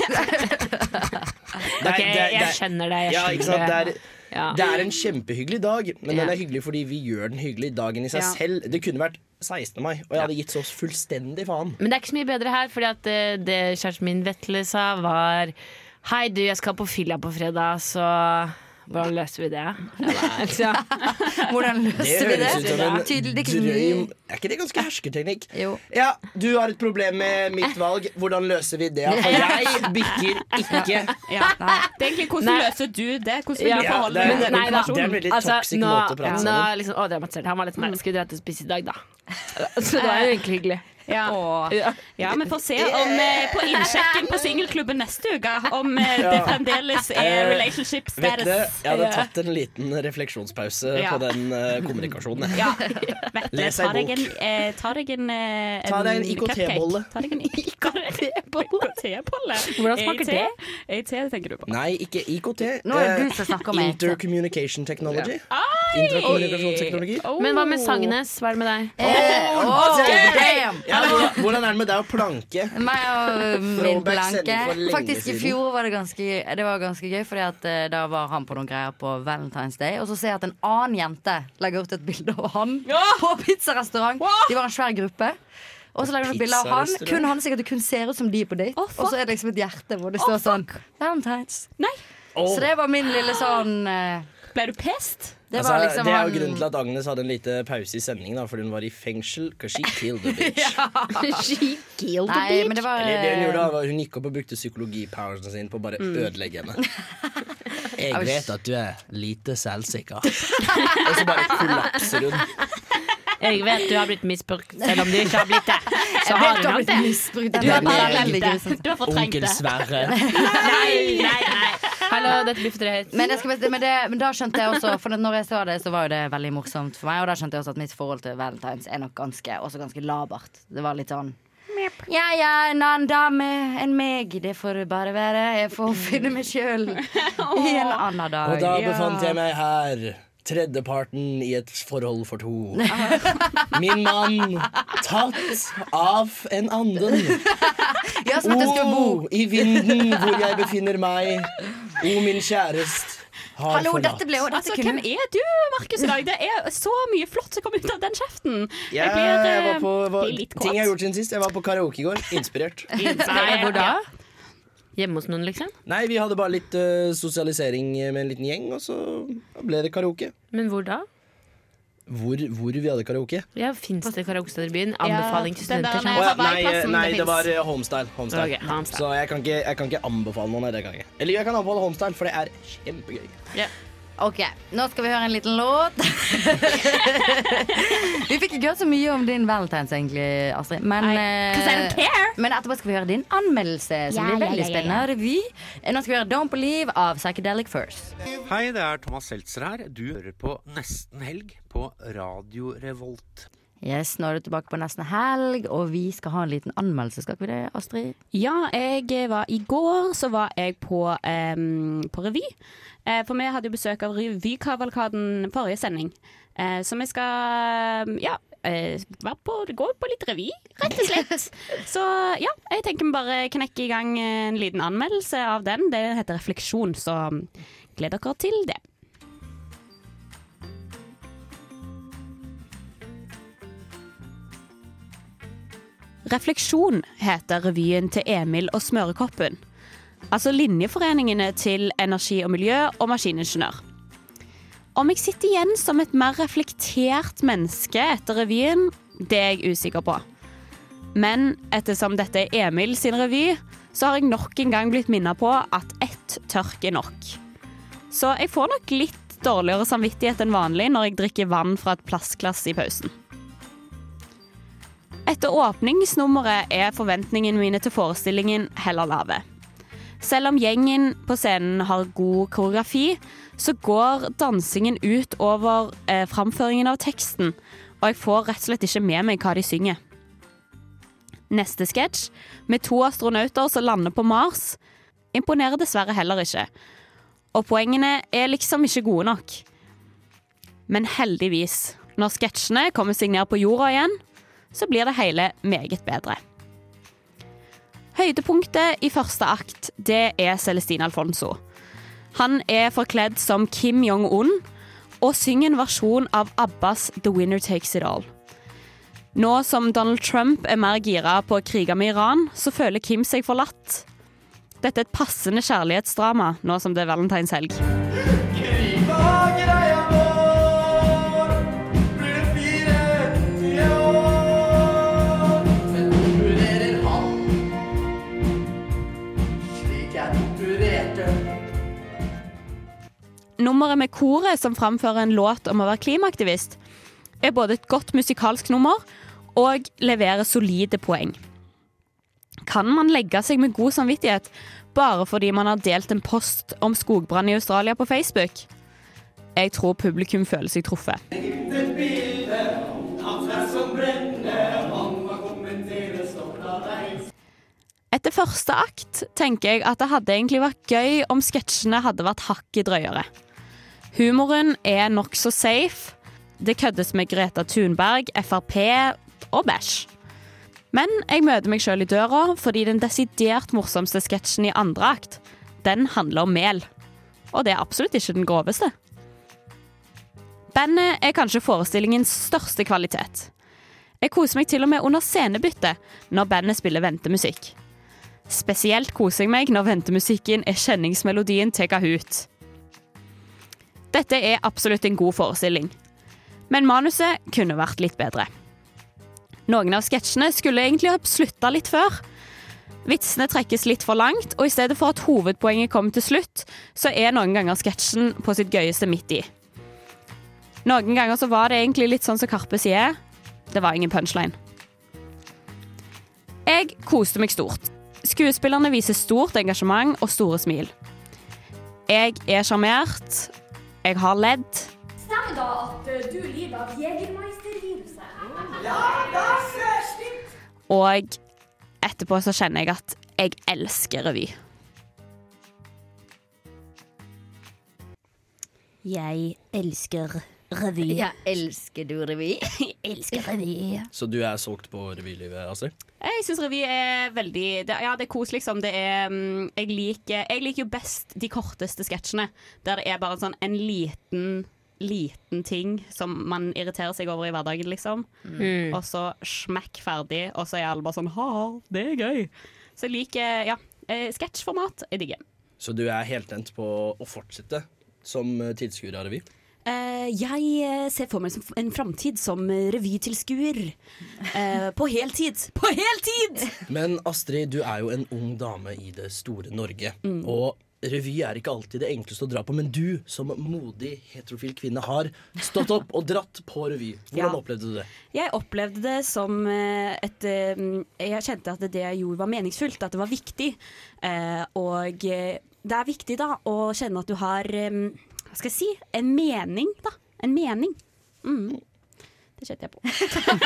Ok, jeg skjønner det. Jeg ja, ikke sant? skjønner Det det. er, Ja. det er en kjempehyggelig dag, men Ja. den er hyggelig fordi vi gjør den hyggelig dagen i seg Ja. selv. Det kunne vært 16. mai, og jeg hadde gitt så fullstendig faen. Men det er ikke så mye bedre her, fordi at eh, det kjæresten min Vetle sa, var Hei, du, jeg skal på fylla på fredag, så hvordan løser vi det? Jeg bare, «Tja». Hvordan Det løste vi det? høres ut som en Tydelig- det er ikke- drøy Er ikke det ganske hersketeknikk? Jo. Ja, du har et problem med mitt valg. Hvordan løser vi det? For jeg bikker ikke. Ja, nei. Det er egentlig hvordan Nei. løser du det? Hvordan vil Ja, du forholde det er- deg det til er- den Nei da. Altså, det er en informasjonen? veldig Altså, toxic nå, måte å prate nå sammen. er liksom overdramatisert. Han var litt sånn her, skal vi dra til å spise i dag, da? Så det var jo egentlig hyggelig. Ja. Ja. ja, vi får se om eh, på innsjekken på singelklubben neste uke om eh, det Ja. Eh, fremdeles er eh, relationship Vet dere, status. jeg hadde tatt en liten refleksjonspause Ja. på den eh, kommunikasjonen. Ja. Vetle, Les ei ta deg bok. en, eh, ta deg en, eh, Ta deg en cupcake. IKT-bolle. Ta deg en IKT-bolle. Hvordan smaker det? EIT tenker du på. Nei, ikke IKT. Nå er det eh, du som snakker om EIT. Intercommunication technology. Ai! Interkommunikasjonsteknologi. Oh. Men hva med Sagnes? Hva er det med deg? Eh, oh, damn! Ja, hvordan- hvordan er det med deg å planke? Meg og eh, min Throwback blanke. sender for lenge Faktisk I siden. fjor var det ganske, det var ganske gøy, Fordi at eh, da var han på noen greier på Valentine's Day. Og så ser jeg at en annen jente legger ut et bilde av han på pizzarestaurant. De var en svær gruppe. Og så legger hun et bilde av han. Pizzarestaurant. Kun han sikkert kun ser ut som de på date. Å, fuck. og så er det liksom et hjerte hvor det står sånn Valentine's. Nei, Åh. Så det var min lille sånn eh, ble du pest? Det Altså, var liksom det er han- jo grunnen til at Agnes hadde en lite pause i sendingen, da, fordi hun var i fengsel. 'cause she killed a bitch. She killed the Nei, bitch. men det var Eller det hun eh, gjorde da, var hun gikk opp og brukte psykologipoweren sin på å Mm. bare ødelegge henne. Jeg vet at du er lite selvsikker. Og så bare kollapser hun. Jeg vet du har blitt misbrukt, selv om du ikke har blitt det. Så har Jeg vet du du har nok blitt det. misbrukt. Den Du har er bare veldig glemt grusom. det. Du har fortrengt Onkel det. Sverre. Nei, nei, nei. Hallo, dette blir for drøyt. Men, jeg skal, bare si- men, det, men da skjønte jeg også For når jeg så det, så var jo det veldig morsomt for meg. Og da skjønte jeg også at mitt forhold til Valentine's er nok ganske, også ganske labert. Det var litt sånn Ja ja, en annen dame enn meg. Det får bare være. Jeg får finne meg sjøl i en annen dag. Og da befant jeg meg her. Tredjeparten i et forhold for to. Min mann tatt av en anden. ja, som at jeg skulle bo. O, Oh, i vinden hvor jeg befinner meg. O, min kjærest har Hallo, forlatt. dette ble jo dette Altså, Hvem kunne, er du, Markus, i dag? Det er så mye flott som kom ut av den kjeften. Jeg, eh, jeg var på, var, blir litt kåt. ting jeg har gjort siden sist. Jeg var på karaoke i går. Inspirert. Nei, hvor da? Hjemme hos noen, liksom? Nei, vi hadde bare litt eh, sosialisering med en liten gjeng, og så ble det karaoke. Men hvor da? Hvor, hvor vi hadde karaoke? Ja, Fins det karaokesteder i byen? Anbefaling til den der studenter. sånn. nede. Å ja, nei, Hawaii-plassen, det nei, det finnes. var eh, homestyle. homestyle. Ok, homestyle. Så jeg kan, ikke, jeg kan ikke anbefale noen. av det, kan jeg. ikke. Eller jeg kan anbefale homestyle, for det er kjempegøy. Ok, nå skal vi høre en liten låt. vi fikk ikke hørt så mye om din valentines, egentlig, Astrid. Men, eh, Nei, 'cause I don't care. men etterpå skal vi høre din anmeldelse, som blir veldig spennende. Revy. Eh, Nå skal vi høre Don't Believe av Psychedelic First. Hei, det er Thomas Seltzer her. Du hører på Nesten Helg på Radio Revolt. Yes, nå er du tilbake på nesten helg, og vi skal ha en liten anmeldelse, skal ikke vi det, Astrid? Ja, jeg var i går så var jeg på, em, på revy. Eh, for vi hadde jo besøk av revykavalkaden forrige sending. Eh, så vi skal em, ja, eh, være på, gå på litt revy, rett og slett. så ja, jeg tenker vi bare knekker i gang en liten anmeldelse av den. Det heter Refleksjon, så gled dere til det. Refleksjon heter revyen til Emil og Smørekoppen. Altså linjeforeningene til energi og miljø og maskiningeniør. Om jeg sitter igjen som et mer reflektert menneske etter revyen, det er jeg usikker på. Men ettersom dette er Emil sin revy, så har jeg nok en gang blitt minnet på at ett tørk er nok. Så jeg får nok litt dårligere samvittighet enn vanlig når jeg drikker vann fra et plastglass i pausen. Etter åpningsnummeret er forventningene mine til forestillingen heller lave. Selv om gjengen på scenen har god koreografi, så går dansingen ut over eh, framføringen av teksten, og jeg får rett og slett ikke med meg hva de synger. Neste sketsj, med to astronauter som lander på Mars, imponerer dessverre heller ikke. Og poengene er liksom ikke gode nok. Men heldigvis, når sketsjene kommer seg ned på jorda igjen, så blir det hele meget bedre. Høydepunktet i første akt, det er Celestine Alfonso. Han er forkledd som Kim Jong-un og synger en versjon av Abbas The Winner Takes It All. Nå som Donald Trump er mer gira på å krige med Iran, så føler Kim seg forlatt. Dette er et passende kjærlighetsdrama nå som det er valentinshelg. Nummeret med koret som framfører en låt om å være klimaaktivist, er både et godt musikalsk nummer og leverer solide poeng. Kan man legge seg med god samvittighet bare fordi man har delt en post om skogbrann i Australia på Facebook? Jeg tror publikum føler seg truffet. Etter første akt tenker jeg at det hadde egentlig vært gøy om sketsjene hadde vært hakket drøyere. Humoren er nokså safe. Det køddes med Greta Thunberg, Frp og bæsj. Men jeg møter meg sjøl i døra fordi den desidert morsomste sketsjen i andre akt, den handler om mel. Og det er absolutt ikke den groveste. Bandet er kanskje forestillingens største kvalitet. Jeg koser meg til og med under scenebyttet når bandet spiller ventemusikk. Spesielt koser jeg meg når ventemusikken er kjenningsmelodien til Kahoot. Dette er absolutt en god forestilling, men manuset kunne vært litt bedre. Noen av sketsjene skulle egentlig ha slutta litt før. Vitsene trekkes litt for langt, og i stedet for at hovedpoenget kommer til slutt, så er noen ganger sketsjen på sitt gøyeste midt i. Noen ganger så var det egentlig litt sånn som Karpe sier. Det var ingen punchline. Jeg koste meg stort. Skuespillerne viser stort engasjement og store smil. Jeg er sjarmert. Jeg har ledd. Stemmer da at eh, du lider av jegermeisterviruset? Og etterpå så kjenner jeg at jeg elsker revy. Jeg elsker revy. Jeg elsker du revy. Jeg elsker revy. Så du er solgt på revylivet, Astrid? Jeg syns revy er veldig det, Ja, det er kos, liksom. Det er, mm, jeg, liker, jeg liker jo best de korteste sketsjene, der det er bare sånn en liten liten ting som man irriterer seg over i hverdagen, liksom. Mm. Og så smekk ferdig, og så er alle bare sånn ha, det er gøy. Så jeg liker ja, eh, sketsjformat. Jeg digger. Så du er heltent på å fortsette som eh, tilskuer av revy? Eh, jeg eh, ser for meg som en framtid som eh, revytilskuer. Eh, på heltid. På heltid! Men Astrid, du er jo en ung dame i det store Norge. Mm. Og revy er ikke alltid det enkleste å dra på, men du som modig heterofil kvinne har stått opp og dratt på revy. Hvordan Ja. opplevde du det? Jeg opplevde det som eh, et eh, Jeg kjente at det jeg gjorde var meningsfullt, at det var viktig. Eh, Og eh, det er viktig da å kjenne at du har eh, Hva skal jeg si? En mening, da. En mening. Mm. Det kjente jeg på.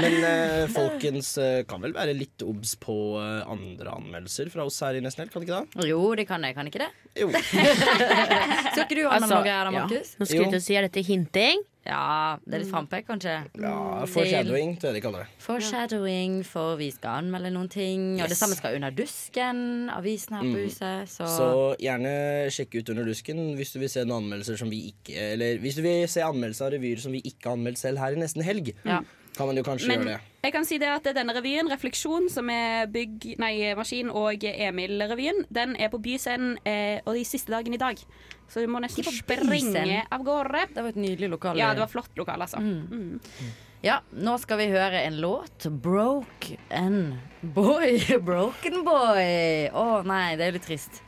Men eh, folkens eh, kan vel være litt obs på eh, andre anmeldelser fra oss her i Nesten Helt, kan ikke det? Jo, det kan jeg. Kan ikke det? Jo. Skal ikke du ha Altså, noe her, da, Markus? Nå skulle jeg til å si er dette hinting. Ja, det er litt frampek, kanskje. Ja, foreshadowing til Erik André. Foreshadowing, for vi skal anmelde noen ting. Og det Yes. samme skal Under dusken, avisen her Mm. på huset. Så, Så gjerne sjekk ut Under lusken hvis du vil se noen anmeldelser som vi ikke Eller hvis du vil se anmeldelser av revyer som vi ikke har anmeldt selv her i nesten helg. Ja. Kan man jo kanskje Men gjøre det. jeg kan si det at denne revyen, Refleksjon, som er Bygg, nei, Maskin og Emil-revyen, den er på Byscenen eh, og de siste dagen i dag. Så du må nesten På springe Byscenen? av gårde. Det var et nydelig lokale. Ja, det var flott lokal, altså. Mm. Ja, nå skal vi høre en låt. 'Broke and Boy'. 'Broken Boy'. Å nei, det er jo litt trist.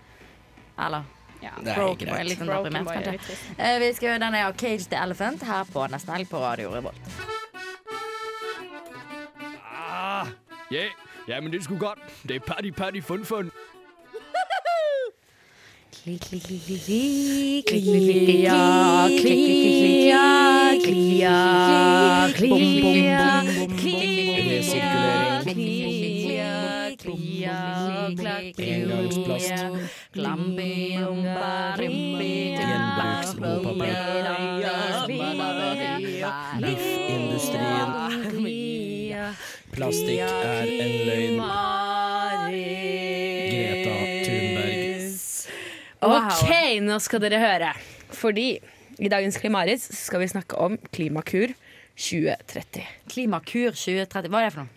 Eller? Ja. Det er Broken Boy, litt sånn Broken deprimert, Boy er kanskje. litt trist. Eh, Vi skal høre den av Cage the Elephant her på Nesten Helg på Radio Revolt. Ah, ja, ja, men det skulle godt. Det er party, party, fun, fun. Klia, klia, klia, klia, Engangsplast. Industrien. Plastikk er en løgn. Greta Thunberg. OK, nå skal dere høre. Fordi i dagens Klimaris skal vi snakke om Klimakur 2030. Klimakur 2030, hva er det for noe?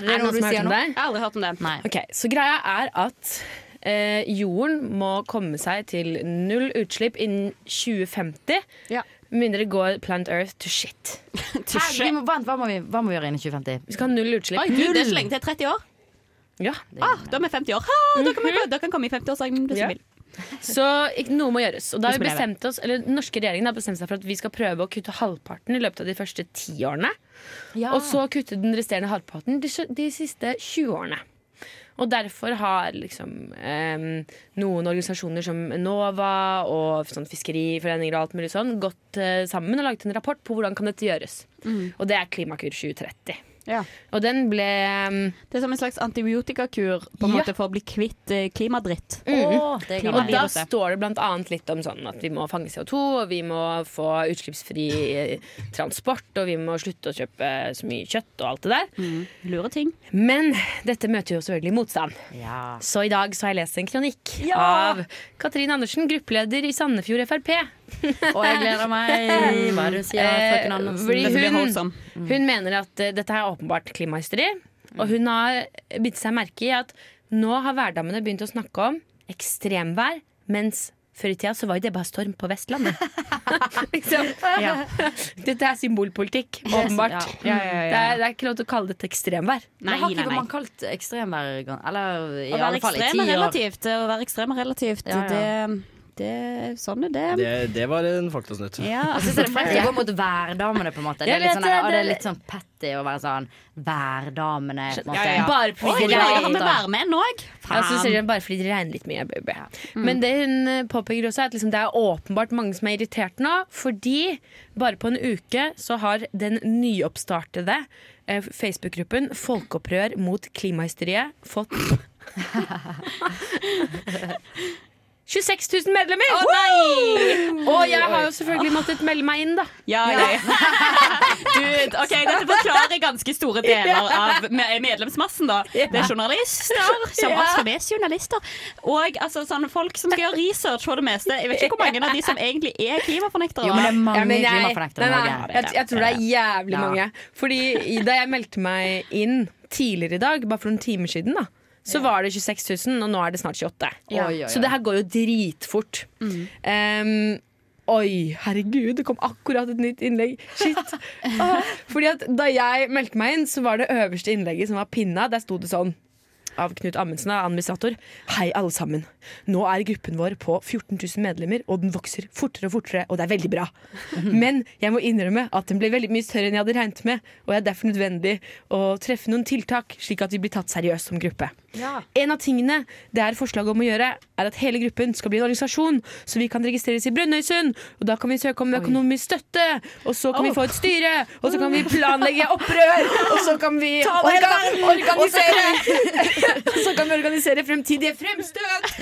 Er det det det noe noen du som har sier hørt om nå? det? Jeg har aldri hørt om det. Nei. Ok, Så greia er at eh, jorden må komme seg til null utslipp innen 2050. Med mindre det går Plant Earth to shit. Hæ, vi må, vent, hva, må vi, hva må vi gjøre innen 2050? Vi skal ha null utslipp. Oi, du, det er så lenge til 30 år. Ja. Mhm. Ah, da er vi 50 år. Ha, da kan vi, dere kan komme i 50-årsdagen hvis Ja. dere vil. Så ikke- noe må gjøres. Og da har vi Hvis man lever. bestemt oss, eller Den norske regjeringen har bestemt seg for at vi skal prøve å kutte halvparten i løpet av de første ti årene. Og så kutte den resterende halvparten de, s- de siste 20 årene. Og derfor har liksom em, noen organisasjoner som Enova og sånn fiskeriforeninger og alt mulig sånn gått eh, sammen og laget en rapport på hvordan kan dette gjøres. Mm. Og det er Klimakur 2030. Og den ble em, Det er som en slags antibiotikakur på en Ja. måte for å bli kvitt eh, klimadritt. Mm. det er og da gammelt. står det blant annet litt om sånn at vi må fange CO2, og vi må få utslippsfri eh, transport, og vi må slutte å kjøpe så mye kjøtt og alt det der. Mm. Lure ting. Men dette møter jo selvfølgelig motstand. Ja. Så i dag så har jeg lest en kronikk av Katrin Andersen, gruppeleder i Sandefjord Frp. Og jeg gleder meg. Hva er det du sier, Eh, frøken Andersen? fordi Dette blir Mm. hun, holdsom. hun mener at eh, dette er åpenbart klimahysteri. Og hun har bitt seg merke i at nå har hverdammene begynt å snakke om ekstremvær, mens før i tida så var jo det bare storm på Vestlandet. liksom. Ja. Dette er symbolpolitikk, åpenbart. Ja, ja, ja, ja. Det, er, det er ikke lov til å kalle dette ekstremvær. Nei, har ikke man kalt ekstremvær Eller i Å være alle fall i ti ekstrem er år. relativt. eh, Å være ekstrem er relativt. Ja, ja. Det, det Sånn er det. altså, Det, det var en faktasnutt. Jeg synes det er frekt å gå mot værdamene, på en måte. Det Jeg er litt vet sånn, der, det, å, det er det- litt sånn petty å være sånn værdamene. på en måte. Ja, ja, ja. Bare på Oi, grunn ja, av- ja, Har vi da. værmenn Faen. Altså, sier hun bare fordi det regner litt mye. Baby. Men det hun eh, påpeker også er at liksom, det er åpenbart mange som er irritert nå. Fordi bare på en uke så har den nyoppstartede eh, Facebook-gruppen Folkeopprør mot klimahysteriet fått 26 000 medlemmer! Å, nei! Og jeg har jo selvfølgelig måttet melde meg inn, da. Ja, ja, Du, ok, Dette forklarer ganske store deler av me- medlemsmassen. da Det er journalister, som Ja. oss, for vi er journalister. Og altså, sånne folk som skal gjøre research for det meste. Jeg vet ikke hvor mange av de som egentlig er klimafornektere. Jo, men det er mange Ja, men jeg- klimafornektere i nei, nei, Norge. Jeg, jeg tror det er jævlig Ja. mange. Fordi i- da jeg meldte meg inn tidligere i dag, bare for noen timer siden, da, så var det 26 000, og nå er det snart 28 Ja. Oi, oi, oi. Så det her går jo dritfort. Mm. Um, Oi, herregud, det kom akkurat et nytt innlegg. Shit. Ah, Fordi at Da jeg meldte meg inn, så var det øverste innlegget som var pinna. Der sto det sånn av Knut Amundsen, da, administrator. Hei, alle sammen. Nå er gruppen vår på 14 000 medlemmer, og den vokser fortere og fortere, og det er veldig bra. Men jeg må innrømme at den ble veldig mye større enn jeg hadde regnet med, og det er derfor nødvendig å treffe noen tiltak, slik at vi blir tatt seriøst som gruppe. En av tingene det er forslag om å gjøre, er at hele gruppen skal bli en organisasjon, så vi kan registreres i Brønnøysund, og da kan vi søke om økonomisk støtte, og så kan vi få et styre, og så kan vi planlegge opprør, og så kan vi Ta over hele orga- verden! organisere Så kan vi organisere fremtidige fremstøt,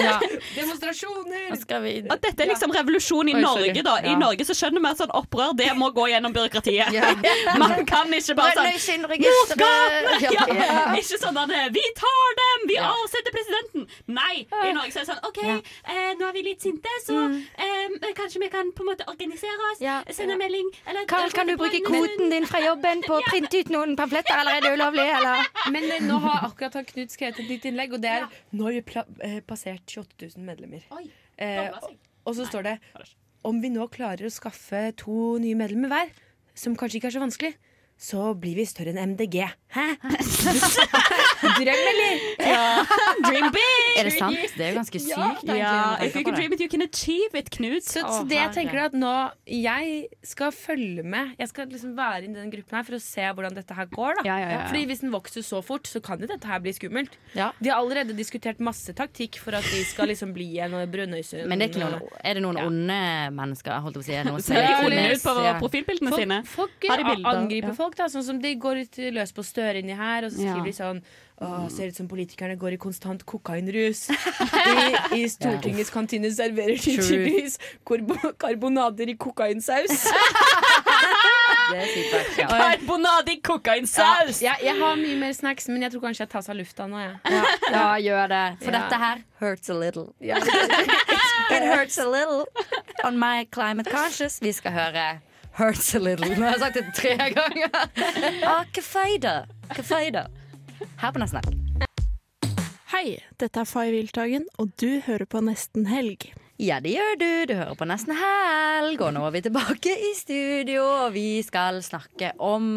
demonstrasjoner At dette er liksom revolusjon i Oi, sorry. Norge, da. I Ja. Norge så skjønner vi at sånn opprør, det må gå gjennom byråkratiet. Ja. Man kan ikke bare sånn Brønnøysundregisteret. Motgatene! Ja. Ja. Ikke sånn at eh, vi tar dem! hjem! Vi avsetter presidenten! Nei! I Norge så er det sånn OK, eh, nå er vi litt sinte, så eh, kanskje vi kan på en måte organisere oss. Sende melding eller Carl, kan du bruke kvoten din fra jobben på å printe ut noen pamfletter, eller er det ulovlig? Eller? Men eh, nå har akkurat han Knut skrevet et nytt innlegg, og det er Nå har vi pla- eh, passert 28 000 medlemmer. Eh, Dobla seg. og så står det om vi nå klarer å skaffe to nye medlemmer hver, som kanskje ikke er så vanskelig, så blir vi større enn MDG. Hæ? Drøm, eller? Dream big! Er det sant? Det er jo ganske sykt. egentlig, når Ja, man if you tenker på can dream det. it, you can achieve it, Knut. Så, så det jeg tenker er at nå Jeg skal følge med. Jeg skal liksom være i den gruppen her for å se hvordan dette her går. Da. Ja, ja, ja, ja. Fordi Hvis den vokser så fort, så kan jo dette her bli skummelt. Ja. Vi har allerede diskutert masse taktikk for at vi skal liksom bli en Brønnøysund. Men det er, ikke noen, er det noen onde mennesker? Holdt jeg på å si, er det noen Ser litt som er onde? onde ut på Ja. profilbildene Folk, sine. folk Har de a- bilder? angriper Ja. folk, da. Sånn som de går litt løs på Støre inni her, og så Ja. skriver de sånn Åh, ser ut som politikerne går i konstant kokainrus. I, i Stortingets kantine serverer de True. tydeligvis korbo- karbonader i kokainsaus. Det er sykt faktisk, ja. Karbonade i kokainsaus! Ja, jeg, jeg har mye mer snacks, men jeg tror kanskje jeg tas av lufta nå. Jeg. Ja, ja, gjør det. For Ja. dette her hurts a little. Ja. It hurts a little on my climate conscious. Vi skal høre Hurts a little. Nå har jeg sagt det tre ganger. Ah, hva feider? Hva feider? Her på Nesten Helg. Hei, dette er Fay Wiltagen, og du hører på Nesten Helg. Ja, det gjør du. Du hører på Nesten Helg. Og nå er vi tilbake i studio, og vi skal snakke om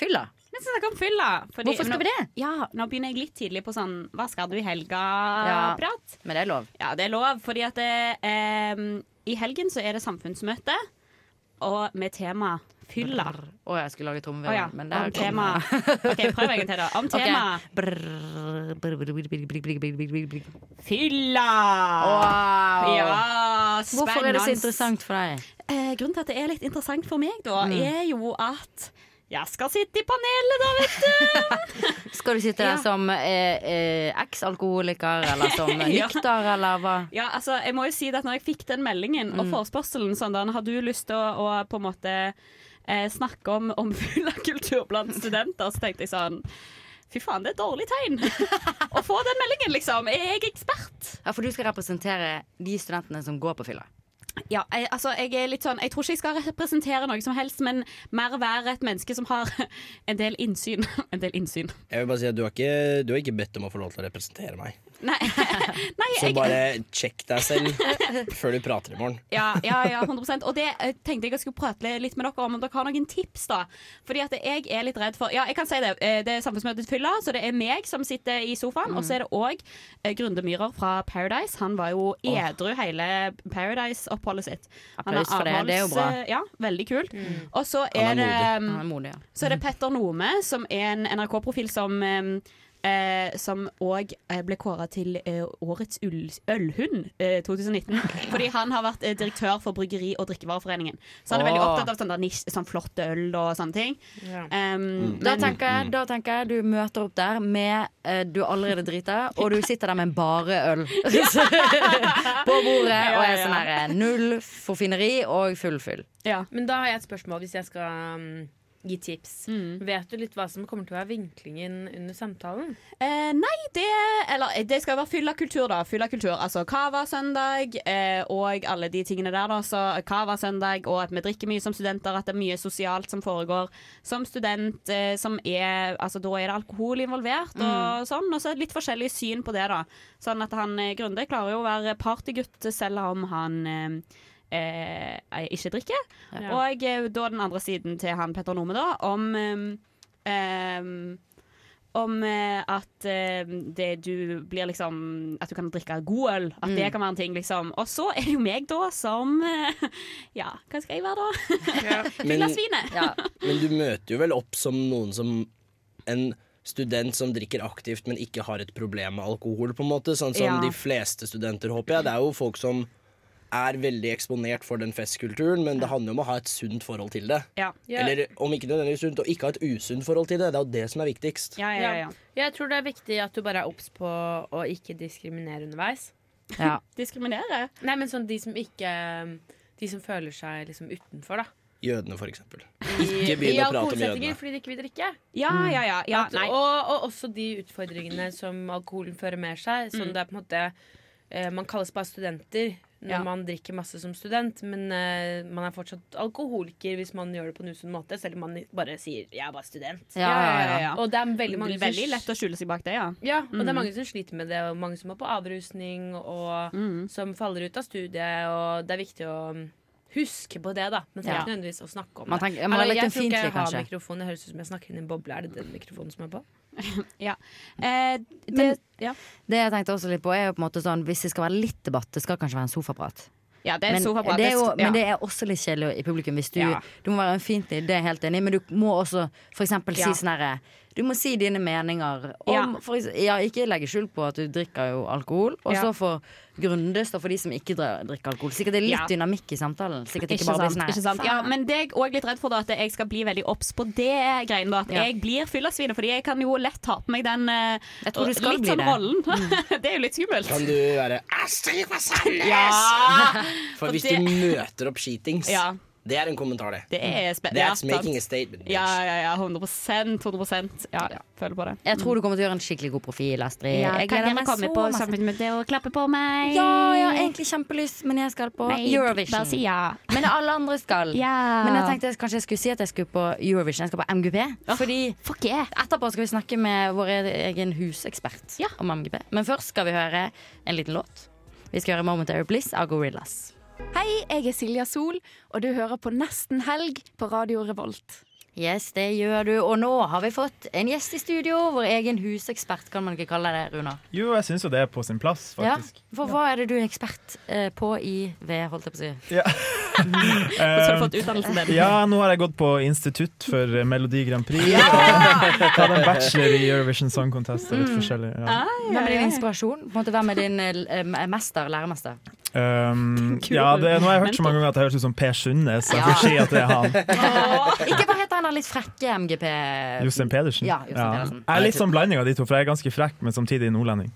fylla. Vi skal snakke om fylla. fordi- Hvorfor skal nå- vi det? Ja, Nå begynner jeg litt tidlig på sånn hva skal du i Ja. helga-prat. Men det er lov. Ja. det er lov, fordi at det, ehm, i helgen så er det samfunnsmøte, og med tema fylla. Å, jeg skulle lage Å ja, trommevirvel, men det om er ikke- tema. OK, prøv en gang til, da. Om Ok. tema Brrr, brr, brr, brr, brr, brr, brr, brr, brr. fylla. Wow. Ja, spennende. Hvorfor er det så interessant for deg? Eh, grunnen til at det er litt interessant for meg, da, Mm. er jo at jeg skal sitte i panelet, da, vet du! Skal du sitte der som eh, eh, eks-alkoholiker, eller som Ja. nykter, eller hva? Ja, altså, jeg må jo si det at når jeg fikk den meldingen og Mm. forespørselen sånn, da, har du lyst til å, å på en måte eh, snakke om, om fyllakultur blant studenter, så tenkte jeg sånn Fy faen, det er et dårlig tegn å få den meldingen, liksom. Er jeg ekspert? Ja, For du skal representere de studentene som går på fylla. Ja, jeg, altså, jeg er litt sånn Jeg tror ikke jeg skal representere noe som helst, men mer være et menneske som har en del innsyn. En del innsyn. Jeg vil bare si at du har, ikke, du har ikke bedt om å få lov til å representere meg. Nei, Nei Så bare sjekk deg selv før du prater i morgen. Ja, ja, ja, 100 Og det eh, tenkte jeg jeg skulle prate litt med dere om. Om dere har noen tips, da. Fordi at jeg er litt redd for Ja, jeg kan si det. eh, Det er samfunnsmøtet fylla, så det er meg som sitter i sofaen. Og så er det òg Grunde Myhrer fra Paradise. Han var jo edru hele Paradise-oppholdet sitt. Han Applaus for det, det er jo bra. Mm. avholds- Ja, veldig kult. Og så Han er er det um, mm, modig. Han er modig, ja. så er det Petter Nome, som er en NRK-profil som eh, eh, som òg ble kåra til eh, årets ull, ølhund eh, 2019. Fordi han har vært eh, direktør for Bryggeri- og drikkevareforeningen. Så han er veldig Åh. opptatt av sånn, der nisj, sånn flott øl og sånne ting. Ja. Um, Da tenker, jeg, da tenker jeg du møter opp der med eh, Du er allerede drita, og du sitter der med en bare øl på bordet og er sånn her eh, null forfineri og full fyll. ja. Men da har jeg et spørsmål, hvis jeg skal um, gi tips. Mm. Vet du litt hva som kommer til å være vinklingen under samtalen? Eh, nei, det Eller eh, det skal være fyllakultur, da. Fyllakultur. Altså Cava-søndag eh, og alle de tingene der, da. Så eh, Cava-søndag og at vi drikker mye som studenter, at det er mye sosialt som foregår som student, eh, som er Altså da er det alkohol involvert og sånn. Og så litt forskjellig syn på det, da. Sånn at han eh, Grunde klarer jo å være partygutt selv om han eh, eh, ikke drikker. Og eh, da den andre siden til han Petter Nome, da, om eh, eh, om eh, at eh, det du blir liksom At du kan drikke god øl. At Mm. det kan være en ting, liksom. Og så er det jo meg, da, som eh, Ja, hva skal jeg være, da? Men, Fyllasvinet. Ja. men du møter jo vel opp som noen som En student som drikker aktivt, men ikke har et problem med alkohol, på en måte. Sånn som Ja. de fleste studenter, håper jeg. Det er jo folk som er veldig eksponert for den festkulturen, men det handler jo om å ha et sunt forhold til det. Ja. Ja. Eller om ikke nødvendigvis sunt, og ikke ha et usunt forhold til det. Det er jo det som er viktigst. Ja, ja, ja. Jeg tror det er viktig at du bare er obs på å ikke diskriminere underveis. Ja. Diskriminere. mm, Nei, men sånn de som ikke De som føler seg liksom utenfor, da. jødene, f.eks. I Ikke begynn å prate om alkoholsettinger jødene. Mm. fordi de ikke vil drikke. Ja, ja, ja, ja, At, nei. og, og også de utfordringene som alkoholen fører med seg. Som Mm. det er på en måte eh, Man kalles bare studenter når Ja. man drikker masse som student, men eh, man er fortsatt alkoholiker hvis man gjør det på en usunn måte, selv om man bare sier 'jeg er bare student'. Ja, ja, ja, ja. Og det er veldig mange Det blir veldig lett å skjule seg bak det, ja. ja, og det Mm. er mange som sliter med det, og mange som er på avrusning, og Mm. som faller ut av studiet, og det er viktig å mm, huske på det, da. Men trenger Ja. ikke nødvendigvis å snakke om Man det. tenker- man har Eller, litt jeg tror ikke jeg ømfintlig, har kanskje. mikrofon, det høres ut som jeg snakker inn i en boble. Er det den mikrofonen som er på? ja. Eh, det, ja. Det jeg tenkte også litt på er jo på en måte sånn Hvis det skal være litt debatt, det skal kanskje være en sofaprat. ja, det er men, en sofaprat. det er jo, ja. men det er også litt kjedelig i publikum hvis du Ja. Du må være ømfintlig, det er jeg helt enig i, men du må også f.eks. Ja. si sånn herre Du må si dine meninger om Ja. for eks- ja, Ikke legge skjul på at du drikker jo alkohol, og Ja. så for grundes og for de som ikke dra- drikker alkohol. Sikkert det er litt Ja. dynamikk i samtalen. Sikkert ikke, Ikke bare blir sant, sånn her, ikke sant. Ja, "Faen." men det er jeg òg litt redd for, da, at jeg skal bli veldig obs på det greiene. Da, at Ja. jeg blir fyllasvine, fordi jeg kan jo lett ta på meg den eh, Jeg tror du skal litt bli sånn det. Mm. rollen. det er jo litt skummelt. Kan du være Astrid fra Sandnes? Ja! For Og hvis det- du møter opp skitings, Ja. det er en kommentar, Mm. det. Det er spe- ja, That's sant. making a statement. Ja, ja, ja. 100 100 Ja, ja. Føler på det. Mm. Jeg tror du kommer til å gjøre en skikkelig god profil, Astrid. Ja, jeg kan gleder gjerne meg komme så på masse. samfunnsmøte og klappe på meg. Ja, jeg har egentlig kjempelyst, men jeg skal på Nei, Eurovision. bare si ja. Men alle andre skal. Ja. Men jeg tenkte jeg kanskje jeg skulle si at jeg skulle på Eurovision. Jeg skal på MGP. Fordi etterpå skal vi snakke med vår egen husekspert om MGP. Men først skal vi høre en liten låt. Vi skal høre 'Momentary Bliss' av Gorillas. Hei, jeg er Silja Sol, og du hører på Nesten helg på Radio Revolt. Yes, det gjør du. Og nå har vi fått en gjest i studio. Vår egen husekspert, kan man ikke kalle det, Runa? Jo, jeg syns jo det er på sin plass, Ja, faktisk. for hva er det du er ekspert eh, på i ved, holdt jeg på å si? Ja. så har du fått utdannelsen din. Eh, Ja, nå har jeg gått på institutt for eh, Melodi Grand Prix. Tatt en bachelor i Eurovision Song Contest og litt Mm. forskjellig. Ja. Hvem er din inspirasjon? På en måte, hvem er din eh, mester, læremester? Um, ja, det, nå har jeg hørt så mange ganger at jeg høres ut som Per Sundnes, så jeg får si at det er han. Ikke hva heter han der litt frekke MGP Jostein Pedersen. Ja, Jostein Pedersen. Jeg er litt sånn blanding av de to, for jeg er ganske frekk, men samtidig nordlending.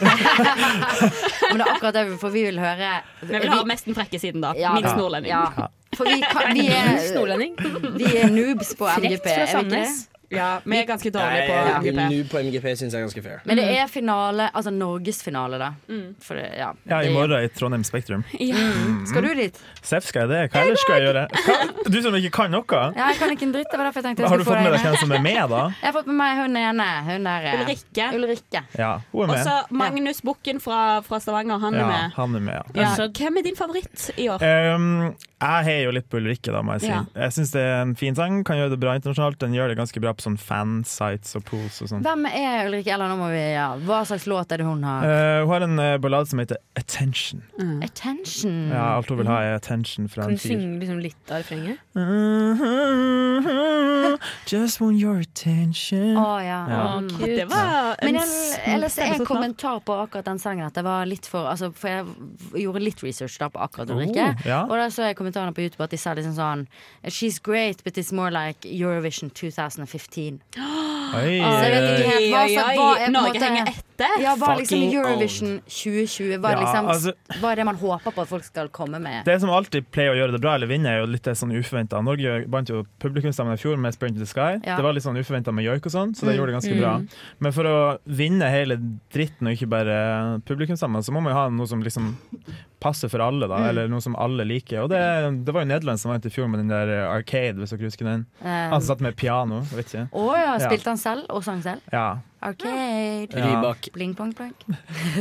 Men det er akkurat det, vi- for vi vil høre Vi vil ha mest den frekke siden, da. Ja. Minst nordlending. Ja. For vi, kan, vi, Minst nordlending. er, vi er noobs på Frekt MGP, er fra vi ikke Sandnes. det? Ja, vi er ganske dårlige på Mm. Nei, MGP. Noob på MGP syns jeg er ganske fair. Men det er finale, altså norgesfinale, da. Mm. For det, ja. Ja, i det- morgen i Trondheim Spektrum. Mm. Ja. Skal du dit? Seff, skal jeg det? Hva ellers skal jeg gjøre? Hva? Du som ikke kan noe? Ja, jeg kan ikke en dritt. Det var derfor jeg tenkte jeg Har du skulle få fått med deg deg hvem inn. som er med, da? Jeg har fått med meg hun ene. Hun der, eh, Ulrikke. Ulrikke. Ja, hun er Og med. så Magnus Bukken fra, fra Stavanger, han er ja, Altså- med. Han er med, ja. Ja. Altså, Hvem er din favoritt i år? Um, jeg heier jo litt på Ulrikke, da, må jeg si. Ja. Jeg syns det er en fin sang, kan gjøre det bra internasjonalt. Den gjør det ganske bra på sånn fansites og pools og sånn. Hvem er Ulrikke Eller nå må vi, ja. Hva slags låt er det hun har? Eh, hun har en eh, ballade som heter 'Attention'. Mm. Attention. Ja, alt hun vil ha, er attention fra Kan en du fyr. synge liksom litt av refrenget? Just want your attention. Å ja. Ja. Mm. Ja, det var en Men s- jeg- ellers er en stemmesort nå. kommentar på akkurat den sangen at det var litt for altså, For jeg v- gjorde litt research da på akkurat Ulrikke. Oh, ja. Og da så jeg kommentarene på YouTube at de sa liksom sånn She's great, but it's more like Eurovision 2015. Oi, Så jeg vet ikke helt hva Oi, oi, som oi. var er på en Norge måte- henger etter. Ja, var liksom Fucking Eurovision 2020 var, Ja, liksom, altså- var det man håper på at folk skal komme med. Det som alltid pleier å gjøre det bra eller vinne, er jo litt det sånn uforventa. Norge vant jo publikumsstemmen i fjor med 'Sprint to the Sky'. Ja. Det var litt sånn uforventa med joik og sånn, så det Mm. gjorde det ganske Mm. bra. Men for å vinne hele dritten og ikke bare publikumsstemmen, så må man jo ha noe som liksom passer for alle, da. Mm. Eller noe som alle liker. Og det, det var jo Nederland som vant i fjor med den der Arcade, hvis dere husker den. Eh. Han satt med piano, vet ikke. Å ja, spilte han selv og sang selv? Ja. Arcade. Ja. Rybak. Bling, bong, bong. Jeg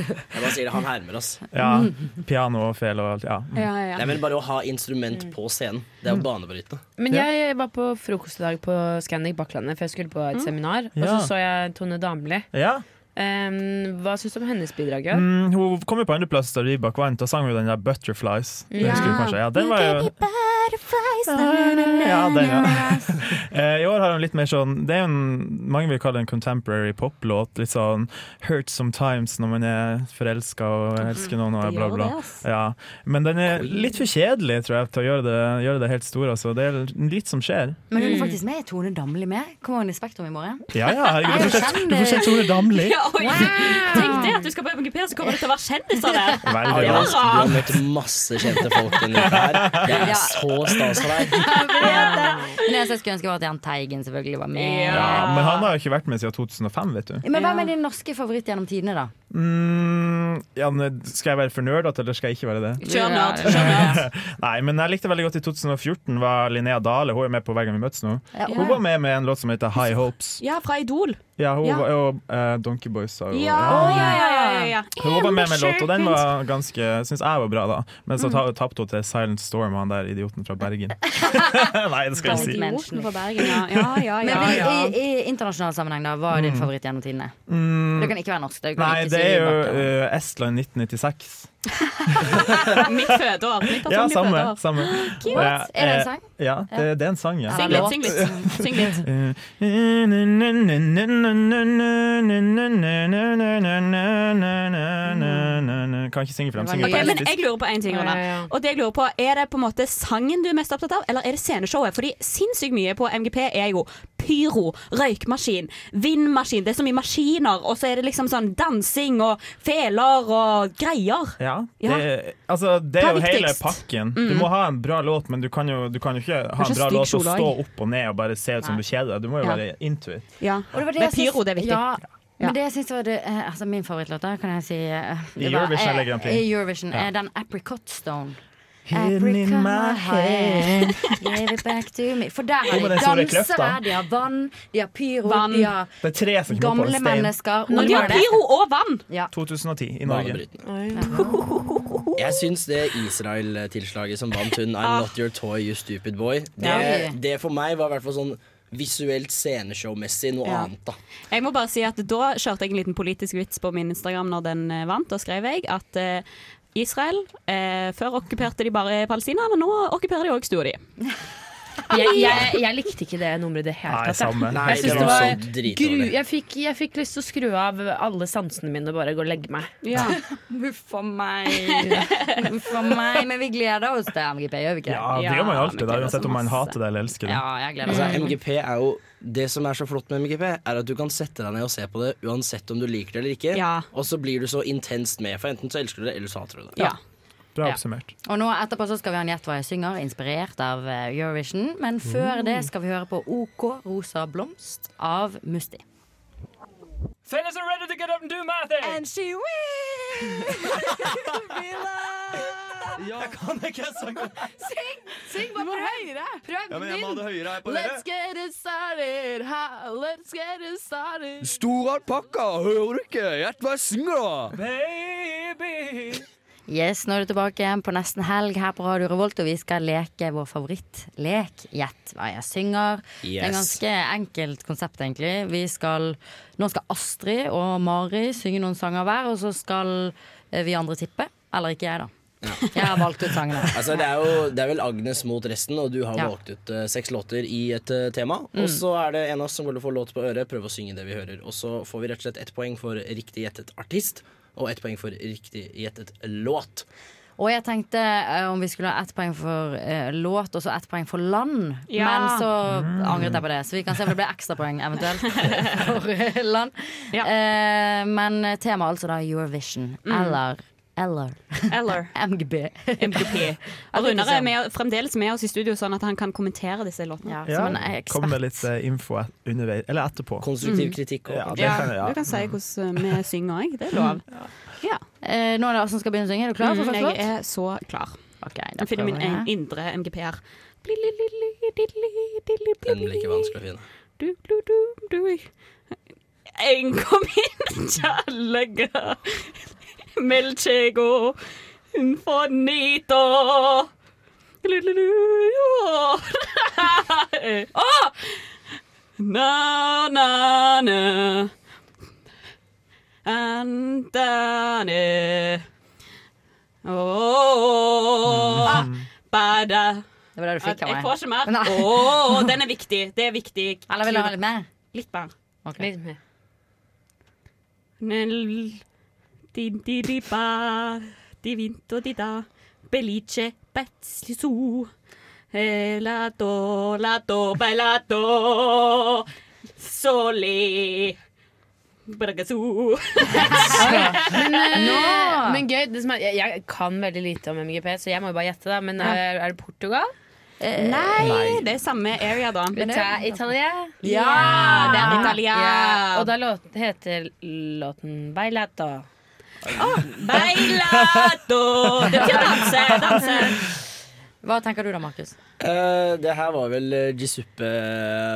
bare sier det, han hermer oss. ja. Mm. Piano og fel og alt. Ja. Mm. Ja, ja. Nei, men bare å ha instrument på scenen, det er jo banebrytende. Men jeg var på frokost i dag på Scandic Bakklandet, for jeg skulle på et seminar. Og så Ja. så jeg Tone Damli. Ja. Um, hva syns du om hennes bidrag? Ja? Mm, hun kom jo på andreplass da Rybak vant. Da sang hun den der 'Butterflies'. Det Ja. husker du kanskje. Ja, den var jo Butterflies, na, na, na, Ja, den, ja. Eh, I år har han litt mer sånn Det er jo en, mange vil kalle det en contemporary poplåt. Litt sånn hurt sometimes når man er forelska Mhm. og elsker noen og Det bla, gjør bla. det, ass. Ja. Men den er litt for kjedelig, tror jeg, til å gjøre det, gjøre det helt stor. Altså. Det er litt som skjer. Men hun er faktisk med. Er Tone Damli med? Kommer hun i Spektrum i morgen? Mm. Ja, ja, herregud, du får sett- du får sett Tone Damli. Ja, oi. Tenk det, at du skal på MGP, så kommer det til å være kjendiser der. Veldig Ja, det bra. var Du rart. har møtt masse kjente folk denne uka her. Det Ja. er så stas for deg. Men det eneste jeg skulle ønske, var at Jahn Teigen selvfølgelig var med. Ja, men han har jo ikke vært med siden 2005, vet du. Men hvem er din norske favoritt gjennom tidene, da? Mm, ja, men skal jeg være for nerdete, eller skal jeg ikke være det? Kjør nerd, kjør Nei, men jeg likte veldig godt i 2014 var Linnea Dale, hun er med på Hver gang vi møtes nå. Ja. Hun var med med en låt som heter High Hopes. Ja, fra Idol. Ja, hun Ja. var jo eh, Donkey Boys. sa hun. Ja, ja, ja, ja, ja. Hun var med med låt, og den Ambition. var ganske, syns jeg var bra, da. Men Mm. så ta- tapte hun til Silent Storm, han der idioten fra Bergen. Nei, det skal jeg si. Idioten fra Bergen, ja. Ja, ja, Men ja, vi- ja. I, i internasjonal sammenheng, da, hva er din favoritt gjennom tidene? Mm. Det kan ikke være norsk. Det kan Nei, ikke det er jo Siri Bakke. eh, Estland 1996. Mitt fødeår. Mitt Ja, personlige samme. fødeår. samme. Cute. Og Er det en eh, sang? Ja, det, det er en sang. Ja. Syng litt, syng litt. Syng litt. Kan ikke synge frem. Synger Ok, på men estisk. jeg lurer på en ting, Rune. Og det jeg lurer på, Er det på en måte sangen du er mest opptatt av, eller er det sceneshowet? Fordi sinnssykt mye på MGP er jo pyro, røykmaskin, vindmaskin. Det er så mye maskiner, og så er det liksom sånn dansing og feler og greier. Ja, det, Ja. altså, det er jo Hva er hele viktigst? pakken. Mm. Du må ha en bra låt, men du kan jo, du kan jo ikke ha Kanskje en bra stygg låt og kjole stå også. opp og ned og bare se ut som du kjeder deg. Du må jo Ja. være into it. Ja. Og det var det Men jeg syns- pyro, det er viktig. Ja, Men det jeg syns var det, eh, altså min favorittlåt, da, kan jeg si eh, I det var, Eurovision eh, eller Grand Prix? I Eurovision. Ja. eh, Den Apricot Stone. Hidden in my head. Give it back to me. For der har Jo, men de den store kløfta. dansere, de har vann, de har pyro, Vann. de har Det er tre som knopper på en gamle stein. mennesker. Og de har pyro og vann! Ja. 2010 i Norge. Jeg syns det Israel-tilslaget som vant hun I'm not your toy, you stupid boy, Ja. det, det for meg var i hvert fall sånn visuelt sceneshowmessig noe Ja. annet, da. Jeg må bare si at Da kjørte jeg en liten politisk vits på min Instagram når den eh, vant. Da skrev jeg at eh, Israel eh, Før okkuperte de bare Palestina, men nå okkuperer de òg stua di. Jeg, jeg, jeg likte ikke det nummeret i det hele Nei, tatt. jeg. samme. Nei, jeg, synes det det var var så dritdårlig. gru, jeg, fikk, jeg fikk lyst til å skru av alle sansene mine og bare gå og legge meg. Ja. Huff a meg. Huff a meg. Men vi gleder oss til MGP, gjør vi ikke det? Ja, det gjør man jo alltid, da, uansett om man masse. hater det eller elsker det. Ja, jeg gleder Altså, meg. MGP er jo Det som er så flott med MGP, er at du kan sette deg ned og se på det uansett om du liker det eller ikke. Og så blir du så intenst med, for enten så elsker du det, eller så hater du det. Ja. Bra Ja. oppsummert. Og nå etterpå så skal vi ha en gjett hva jeg synger, inspirert av eh, Eurovision. Men før Mm. det skal vi høre på OK Rosa Blomst av Musti. Fellas are ready to get up and do my thing. And she Jeg kan ikke sange. Syng! Syng bare prøv! Prøv Ja, men jeg må ha det høyere her på Let's get it started, ha, let's get it started. Store alpakka, hører du ikke? Gjett hva jeg synger, da! Baby! Yes, nå er du tilbake igjen på nesten helg her på Radio Revolt, og vi skal leke vår favorittlek. Gjett hva jeg synger. Det er Yes. ganske enkelt konsept, egentlig. Vi skal, nå skal Astrid og Mari synge noen sanger hver, og så skal eh, vi andre tippe. Eller ikke jeg, da. Jeg har valgt ut sangene. Altså, det, er jo, det er vel Agnes mot resten, og du har Ja. valgt ut eh, seks låter i et eh, tema. Mm. Og så er det en av oss som går til å få låt på øret, prøve å synge det vi hører. Og så får vi rett og slett ett poeng for riktig gjettet artist, og ett poeng for riktig gjettet låt. Og jeg tenkte eh, om vi skulle ha ett poeng for eh, låt og så ett poeng for land. Ja. Men så Mm. angret jeg på det, så vi kan se om det blir ekstrapoeng eventuelt for eh, land. Eh, men temaet altså da Eurovision. Mm. Eller eller Eller MGB. MGP. Og Runar er med, fremdeles med oss i studio, sånn at han kan kommentere disse låtene. Ja, Som en ekspert. Kom med litt eh, info et- underveis, eller etterpå. Konstruktiv kritikk Ja, det Ja, kan jeg, ja. Du kan si hvordan vi synger òg. Det er lov. Ja. Eh, nå er det Asen som skal begynne å synge. Er du klar for Mm, første jeg låt? er så klar. da jeg finner min prøver jeg. en- indre MGP her. Den blir ikke vanskelig å finne. En kom inn, kjærlega, melkjego, fornito. Åh! Na, na, na. Mm. Antane. Åh, bada. Det var det du fikk av Ah, Jeg meg. får ikke mer. Nei. Å, den er viktig. Det er viktig. Eller vil du ha litt mer? Litt mer. Ok. Nel- din di di ba, di vinto di da, belice pezzi su, e la do, la do, bella do, sole, braga su. Men, eh, Nå! men gøy. Det som er, jeg, jeg kan veldig lite om MGP, så jeg må jo bare gjette. da Men eh, Ja. er, er det Portugal? Eh, Nei, det er samme area da. Men det er Italia? Ja, det er Italia. Ja, Og da låt, heter låten Bailato. Bailato! Det betyr danse, danse. Hva tenker du da, Markus? Eh, det her var vel eh, Gisuppe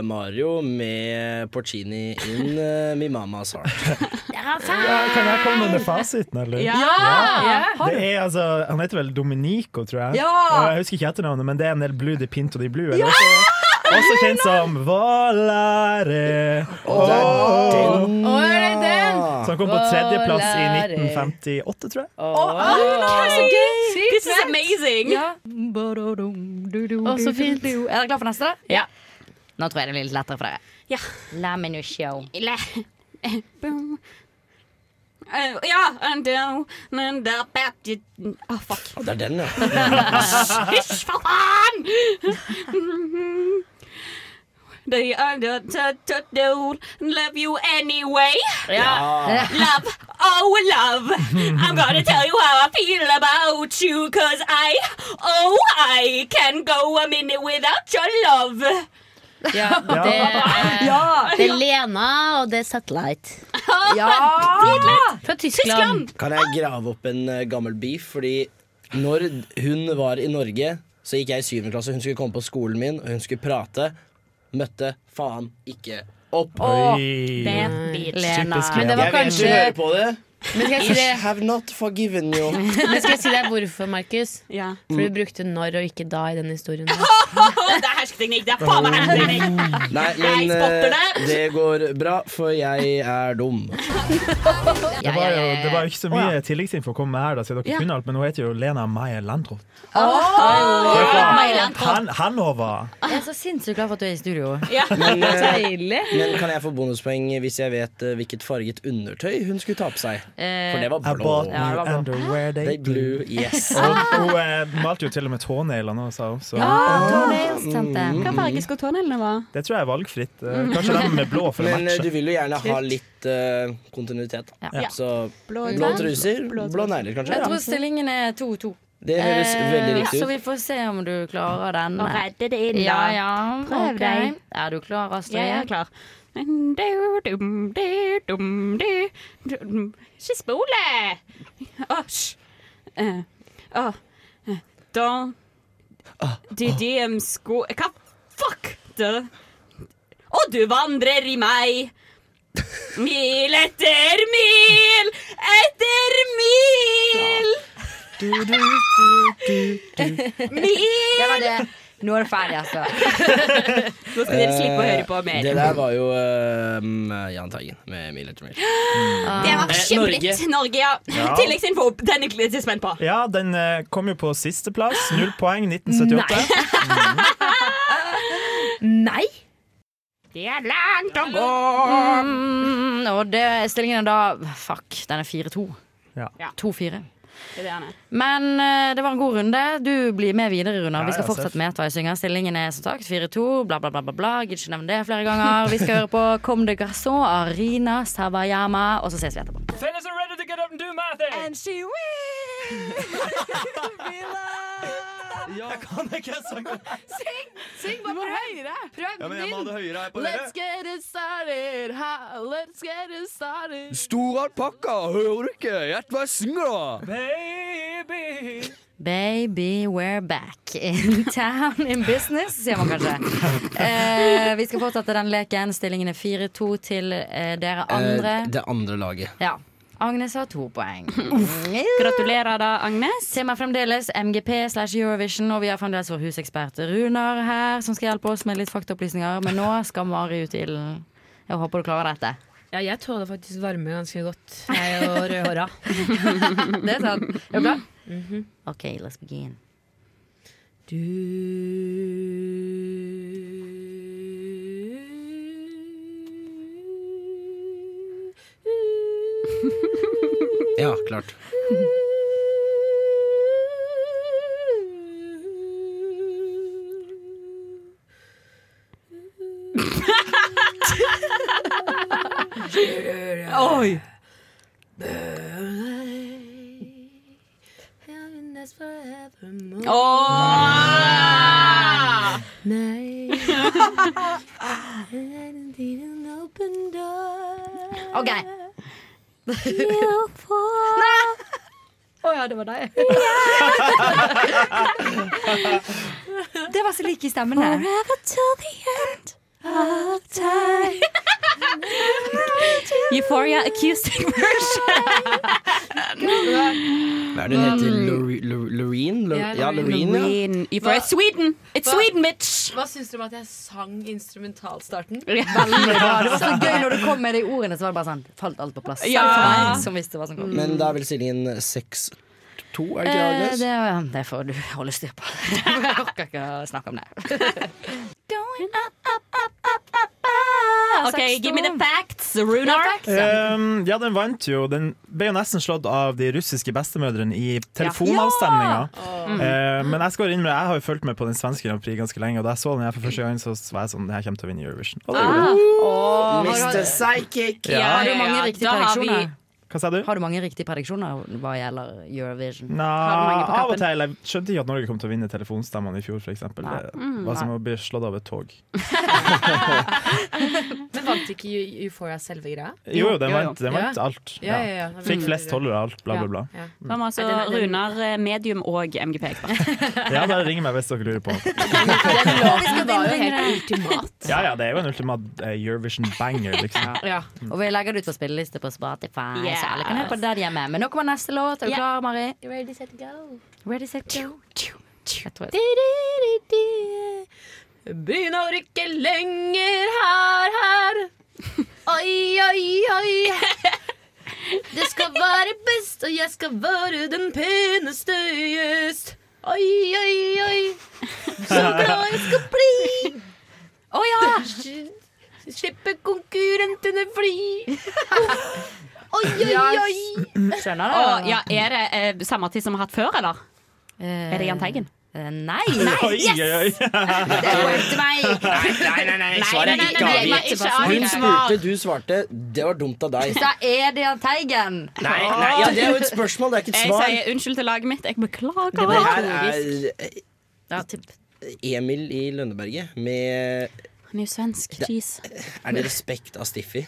Mario med Porcini in eh, Mi Mamas Heart. Kan jeg komme med fasiten, eller? Ja! Ja! Det er altså, han heter vel Dominico, tror jeg. Ja! Og jeg husker ikke etternavnet, men det er en del blue de Pinto de Blue. Eller? Også, også kjent som Valare. Å, er det den? Så han kom på tredjeplass i Volare. 1958, tror jeg. ah! er så gøy! This is amazing. Ja. Å, så fint. Er dere klar for neste? Ja. Nå tror jeg det blir litt lettere for dere. Ja. La meg nå sjå. Eh, Ja, and then- and the er bad Å, fuck. Det er den, ja. Hysj, for faen! They are the t- t- don't love you anyway. Ja. Love, oh love. I'm gonna tell you how I feel about you, cause I, oh, I can go a minute without your love. Ja, det er, Ja. det er Lena, og det er Satellite. Fra Tyskland. Kan jeg grave opp en eh, gammel beef? Fordi når hun var i Norge, så gikk jeg i syvende klasse. Hun skulle komme på skolen min, og hun skulle prate. Møtte faen ikke opp. Åh, bad bitch. Lena. Typisk Men det var jeg vil kanskje- ikke høre på det. Men skal jeg si det- have not forgiven you. Men skal jeg si deg hvorfor, Markus? For du brukte når og ikke da i den historien. det er hersketeknikk. Det er faen meg hersketeknikk. Nei, Jeg men spotter eh, det går bra, for jeg er dum. Det var jo, det var jo ikke så mye tilleggsinfo å komme med her, da, siden dere Ja. kunne alt, men hun heter jo Lena Meyer Landroth. Han, han over. Jeg er så sinnssykt glad for at du er i studio. Men, eh, Deilig. men kan jeg få bonuspoeng hvis jeg vet eh, hvilket farget undertøy hun skulle ta på seg? Eh, For det var I blå. bought new underwear they, They blew. blew, yes. Og hun eh, malte jo til og med tåneglene også, sa hun, så Ah. Mm. Mm. Hva farge skal tåneglene være? Det tror jeg er valgfritt. Eh, Kanskje den med blå for å Men eh, du matche. vil jo gjerne ha Kult. litt eh, kontinuitet. Ja. Så blå, Blå klær. truser, blå, negler kanskje. Ja. Jeg tror stillingen er 2-2. Det høres veldig riktig Eh, Så ut. vi får se om du klarer den. Nå redder det inn, da. Ja, ja. Prøv ok. deg. Er du klar, Astrid? Jeg er klar. Ikke spole! Å, hysj. Eh, Å. eh, Da Ah, De DM sko... Hva? Fuck! Da. Og du vandrer i meg. Mil etter mil etter mil. Du, du, du, du, du. Mil! Det var det. Nå er det ferdig, altså. Nå skal dere slippe å høre på Eh, mer. Det der var jo eh, Jahn Teigen med Mil etter mil. Det var Eh, kjempelitt. Norge. Norge, ja. Ja. Tilleggsinfo. Den er jeg litt spent på. Ja, den eh, kom jo på sisteplass. Null poeng, 1978. Nei. Det er langt å gå. Mm, og det, stillingen er da Fuck, den er 4-2. Ja. 2-4. Men eh, det var en god runde. Du blir med videre, Runar. Ja, Vi skal ja, fortsatt seff. med til hva jeg synger. Stillingen er som sagt 4-2, bla, bla, bla. bla, bla. Gidder ikke nevne det flere ganger. Vi skal høre på Comme de Garçon av Rina Sawayama, og så ses vi etterpå. Fellas are ready to get up and do math. And she wins. Ja, kan ikke jeg sangen? Syng! Syng bare prøv! Høyere. Prøv Ja, men jeg må ha det høyere her på Let's dere. get it started, ha, let's get it started. Store alpakka, hører du ikke? Gjett hva jeg synger, da. Baby. Baby, we're back in town in business, sier man kanskje. Eh, vi skal fortsette den leken. Stillingen er 4-2 til eh, dere andre. Eh, det andre laget. Ja. Agnes har to poeng. Gratulerer da, Agnes. Tema fremdeles MGP slash Eurovision, og vi har fremdeles vår husekspert Runar her, som skal hjelpe oss med litt faktaopplysninger. Men nå skal Mari ut i ilden. Jeg håper du klarer dette. Ja, jeg tåler faktisk varme ganske godt. Jeg og rødhåra. Mhm. Det er sant. Er du klar? OK, let's begin. Ja, klart. Oi! Åh! OK. Å ja, det var deg. det var så like i stemmen her. Euphoria acoustic version. Hva er det hun heter? Lore- Lore- Loreen? Lore- Ja, Loreen, ja. Euphoria Hva- Sweden. It's Hva- Sweden, bitch! Hva syns dere om at jeg sang instrumentalstarten? Veldig bra. Det var så gøy når du kom med de ordene, så var det bare sånn Falt alt på plass. Selv Ja. for meg som visste hva som kom. Men da er vel Siljen 6-2, er Mm. det ikke Eh, Agnes? det, ja, det får du holde styr på. Jeg orker ikke å snakke om det. OK, give me the facts, Ja, Runar. facts, Um, ja, den vant jo. Den ble jo nesten slått av de russiske bestemødrene i telefonavstemninga. Mm. Eh, men jeg skal inn med det. Jeg har jo fulgt med på den svenske Grand Prix ganske lenge, og da jeg så den her for første gang, så var jeg sånn Det her kommer til å vinne Eurovision. Ah. Og det gjorde den. Åh, har du- Mr. Psychic! Ja, har du mange riktige Da har vi- prediksjoner? Hva sa du? Har du mange riktige prediksjoner hva gjelder Eurovision? Nei, Har du mange av på og kappen? til. Jeg skjønte ikke at Norge kom til å vinne telefonstemmene i fjor, f.eks. Nei. Det Mm, var som å bli slått av et tog. Men vant ikke Eu- Euphoria selve greia? Jo, jo, den vant, den vant Ja. alt. Ja, ja, ja. Fikk flest holdere av alt, bla, bla, bla. Ja. Da må altså Er det- det- Runar eh, medium og MGP. Ja, bare ring meg hvis dere lurer på noe. Det var jo helt ultimat. Ja ja, det er jo en ultimat eh, Eurovision-banger, liksom. Og vi legger det ut på spilleliste på Spotify, Yes. så alle kan høre på det der hjemme. Men nå kommer neste låt. Er du Ja. klar, Mari? Ready, set, go. Ready, set, go. Jeg tror jeg- Begynn å rykke lenger her, her. Oi, oi, oi. Det skal være best, og jeg skal være den peneste gjest. Oi, oi, oi. Så glad jeg skal bli. Å ja! Slippe konkurrentene fri. Oi, oi, Ja. oi. Skjønner du? Å, ja, er det eh, samme tid som vi har hatt før, eller? er det Jahn Teigen? Eh, Nei. Oi, oi, oi. Nei, nei, nei, svaret er Nei, nei, ikke nei, nei, avgitt. ikke avgitt. Hun spurte, du svarte. Det var dumt av deg. Så er det Jahn Teigen. Nei, nei ja, det er jo et spørsmål, det er ikke et Jeg svar. sier unnskyld til laget mitt. Jeg beklager. Det her Retorisk. er Emil i Lønneberget med Han er jo svensk. Jeez. Er det respekt av Stiffi?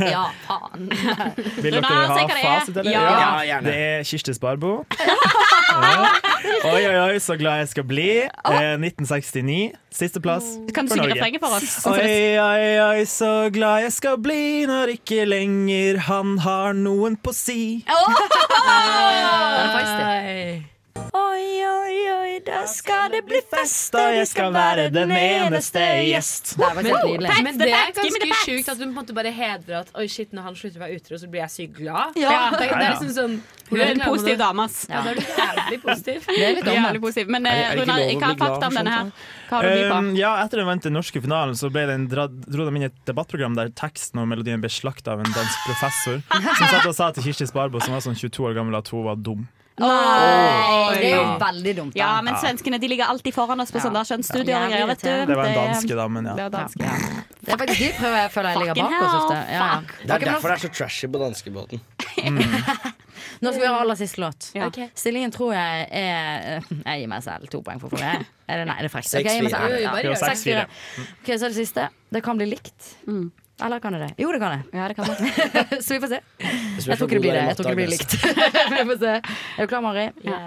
ja, faen. Vil dere Runar, ha si hva det er. fasit, eller? Ja. gjerne. Det er Kirsti Sparbo. Ja. Oi, oi, oi, så glad jeg skal bli. Eh, 1969. Sisteplass Kan du for synge Norge. refrenget for oss? Oi, oi, oi, så glad jeg skal bli når ikke lenger han har noen på si. Oi, oi, oi, da skal det bli fest. Da jeg skal være den eneste gjest. Men- Facts, Men the det er facts, give me the ganske facts. sjukt at hun på en måte bare hedrer at Oi shit, når han slutter å være utro, så blir jeg sykt glad. Ja. Det, det er liksom sånn Hun er en positiv dame, ass. Ja, da er du jævlig positiv. Det er litt Jævlig positiv. Men eh, Er det- er det ikke lov Runar, å hva bli er glad fakta for om denne her? sånt, Hva har du by på? Um, ja, etter den vant den norske finalen, så ble den dra, dro de inn i et debattprogram der teksten og melodien ble slakta av en dansk professor, som satt og sa til Kirsti Sparbo, som var sånn 22 år gammel, at hun var dum. Nei, det er jo veldig dumt. Ja, men svenskene de ligger alltid foran oss på sånne skjønnsstudier og greier, vet du. Det var en danske, da, men Det ja. er danske. Det er faktisk de prøver jeg føler jeg ligger bak oss ofte. Ja, ja. Det er Ok, men derfor det er så trashy på danskebåten. Nå skal vi ha aller siste låt. Stillingen tror jeg er Jeg gir meg selv to poeng for forrige. Er det, nei, er det frekt? Ok, jeg gir meg Seks, selv. fire. Ja. Jo, bare gjør det. Seks, fire. Seks, Ok, så er det siste. Det kan bli likt. Eller kan det det? Jo, det kan Mm. det. så vi får spørs se. Jeg tror hvor ikke god det blir du er det. i Jeg tror ikke det blir matte, likt. vi får se. Er du klar, Mari? Ja.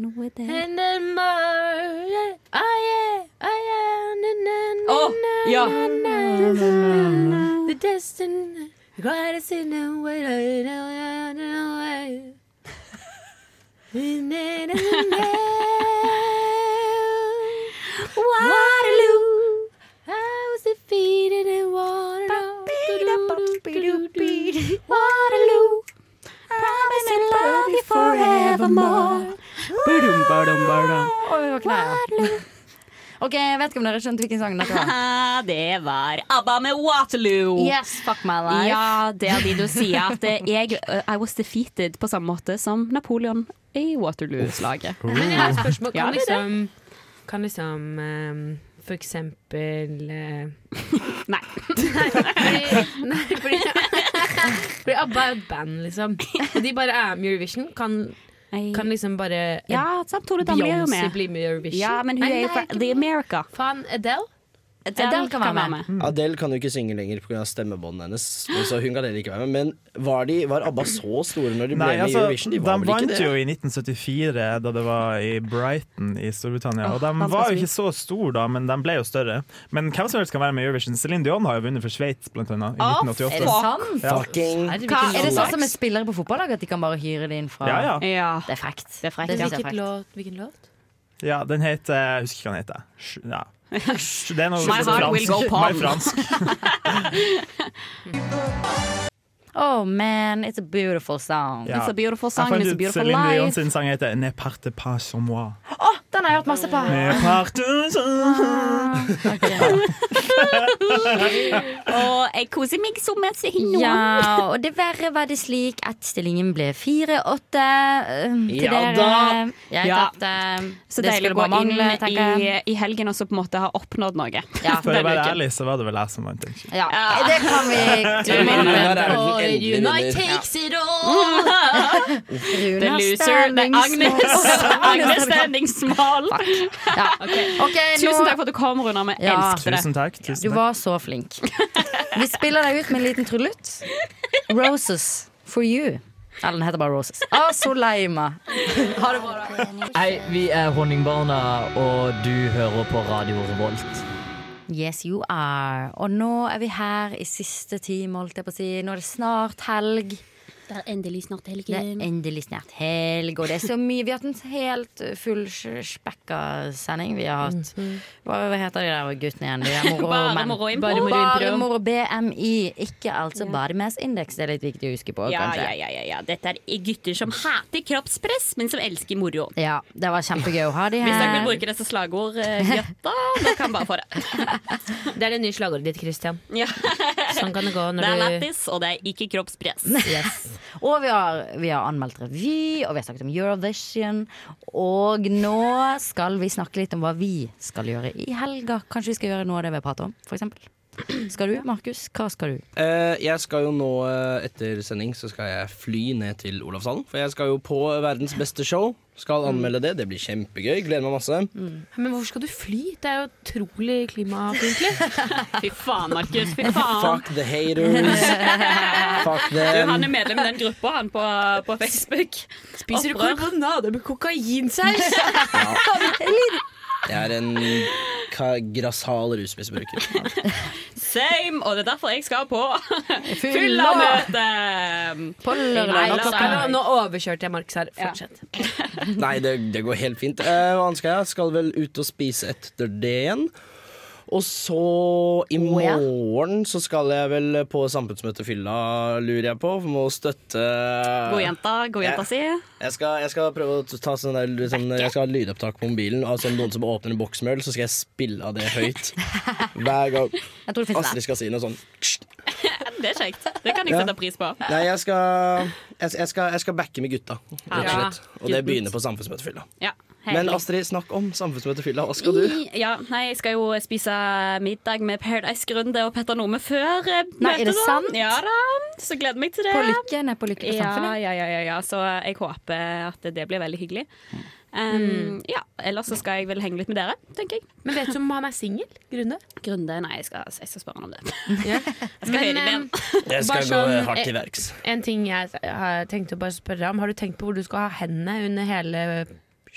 Noe det And then more, oh yeah, oh yeah, na, na, na, Åh, na, ja. na, na, na. The destiny, God is in the way, in the way, in the way. In the- in the way. Waterloo, I was defeated and wanted all. Waterloo, promise I love you forever sommer. Badum, badum, badum. Oi, det var knær. OK, jeg vet ikke om dere skjønte hvilken sang dette var. det var ABBA med Waterloo. Yes, fuck my life. Ja, det er de du sier. At jeg uh, I was defeated på samme måte som Napoleon i Waterloo-slaget. Men jeg har et spørsmål. Ja, Kan det er det. liksom, kan liksom ehm, for eksempel eh, Nei. Nei, nei, fordi, fordi ABBA er jo et band, liksom. Og de bare er med i Eurovision. Kan, kan liksom bare Ja, sant, Tone Damli er jo Beyoncé med. bli med i Eurovision? Ja, men hun Nei, er jo nei, fra ikke- The America. Faen, Adele? Adele kan være med. Mm. Adele kan jo ikke synge lenger pga. stemmebåndet hennes. Så hun kan heller ikke være med Men var, de, var ABBA så store når de ble Nei, med i altså, Eurovision? de De var vel vant ikke jo det? i 1974, da det var i Brighton i Storbritannia. Og de vanskelig var å jo ikke så store da, men de ble jo større. Men hvem som helst kan være med i Eurovision. Celine Dion har jo vunnet for Sveits, blant annet, i Å, er det 1988. sant? Hva, er det sånn som med spillere på fotballag, at de kan bare hyre det inn fra Ja, ja. Det er frekt. Men Det synes jeg er Hvilken frekt. låt? Hvilken låt? Ja, den heter Jeg husker ikke hva den heter. Sj- Ja. Sj- Det er noe My heart will fransk. go My pom. fransk. Oh man, it's a beautiful song. Ja. sånn. It's a beautiful song, Jeg it's a fant ut beautiful Celine Dion life. sin sang heter Ne parte pas sur moi. Å, den har jeg hørt masse på. Ne parte Og jeg koser meg så mye nå. Ja, og dessverre var det slik at stillingen ble 4-8 eh, til Ja dere. da. Jeg Ja. tapte. Så Det deilig skulle å gå bare inn mangle, tenker i, jeg. i helgen og så på en måte ha oppnådd noe. For å Denne være uken. ærlig, så var det vel jeg som vant. egentlig. Ja, det kan vi glemme. United takes it all! The Runa loser, the Standing Agnes. Small. Agnes standing small. Ja. Ok, Tusen nå- takk for at du kom, Runa. Vi Ja. elsket det. Tusen takk. Tusen Du takk. var så flink. Vi spiller deg ut med en liten trudelutt. Roses for you. Eller den heter bare Roses. Ah, så lei meg. Ha det bra. Hei, vi er Honningbarna, og du hører på Radio Revolt. Yes, you are. Og nå er vi her i siste time, holdt jeg på å si. Nå er det snart helg. Det er endelig snart Det er endelig snart helg, og det er så mye. Vi har hatt en helt fullspekka sending. Vi har hatt Hva, hva heter de der guttene igjen? De er moro Mhm. Bare menn. moro impro. Bare Bare moro impro. moro BMI, ikke altså body mass index. Det er litt viktig å huske på, Ja, kanskje. ja, ja, ja, ja. Dette er gutter som hater kroppspress, men som elsker moro. Ja, det var kjempegøy å ha de Hvis dere vil her. bruke det som slagord, eh, gutta, dere kan bare få det. Det er det nye slagordet ditt, Christian. Ja. Sånn kan det gå Det er når du lættis, og det er ikke kroppspress. Og vi har, vi har anmeldt revy, og vi har snakket om Eurovision. Og nå skal vi snakke litt om hva vi skal gjøre i helga. Kanskje vi skal gjøre noe av det vi har pratet om, f.eks. Skal du, Markus? Hva skal du? Eh, jeg skal jo nå, eh, etter sending, så skal jeg fly ned til Olavshallen. For jeg skal jo på verdens beste show. Skal anmelde det. Det blir kjempegøy. Gleder meg masse. Men hvorfor skal du fly? Det er jo utrolig klimafiendtlig. Fy faen, Markus. Fy faen. Fuck the haters. Fuck Du, han them. er medlem i den gruppa, han på, på Facebook. Spiser du Opprør. karbonade med kokainsaus? Jeg er en ka- grassal rusmisbruker. Same, og det er derfor jeg skal på Fyllamøte. fyllamøte. På lørdag. Nei, altså, la oss- nei, nå overkjørte jeg Markus her. Fortsett. Nei, det, det går helt fint. Eh, hva annet skal jeg? Skal vel ut og spise etter det igjen. Og så i ja. morgen så skal jeg vel på samfunnsmøte fylla, lurer jeg på. For må støtte God jenta, god jenta si. Jeg skal, jeg skal prøve å ta sånn der sånn, Jeg skal ha lydopptak på mobilen av sånn, noen som åpner en boks med øl, så skal jeg spille av det høyt. Hver gang Jeg tror det finnes Astrid skal si noe sånn. Det er kjekt. Det kan jeg Ja. sette pris på. Nei, jeg skal, jeg, jeg skal, jeg skal backe med gutta, rett og Ja. slett. Og det begynner på samfunnsmøtefylla. Ja, Men herlig. Astrid, snakk om samfunnsmøtefylla. Hva skal du? I- Ja, nei, jeg skal jo spise middag med Paradise Grunde og Petter Nome før eh, møtet. Nei, er det da. sant? Ja da, så gleder jeg meg til det. På lykke, nei, på lykke på Ja, samfunnet. ja, ja, ja, ja, så jeg håper at det blir veldig hyggelig. Um, Ja, ellers så skal jeg vel henge litt med dere, tenker jeg. Mm. Men vet du om han er singel? Grunde? Grunde? Nei, jeg skal, jeg skal spørre han om det. Jeg skal Men, høre em, det. Jeg bare skal gå sånn, hardt til eh, verks. En ting jeg s- har tenkt å bare spørre om. Har du tenkt på hvor du skal ha hendene under hele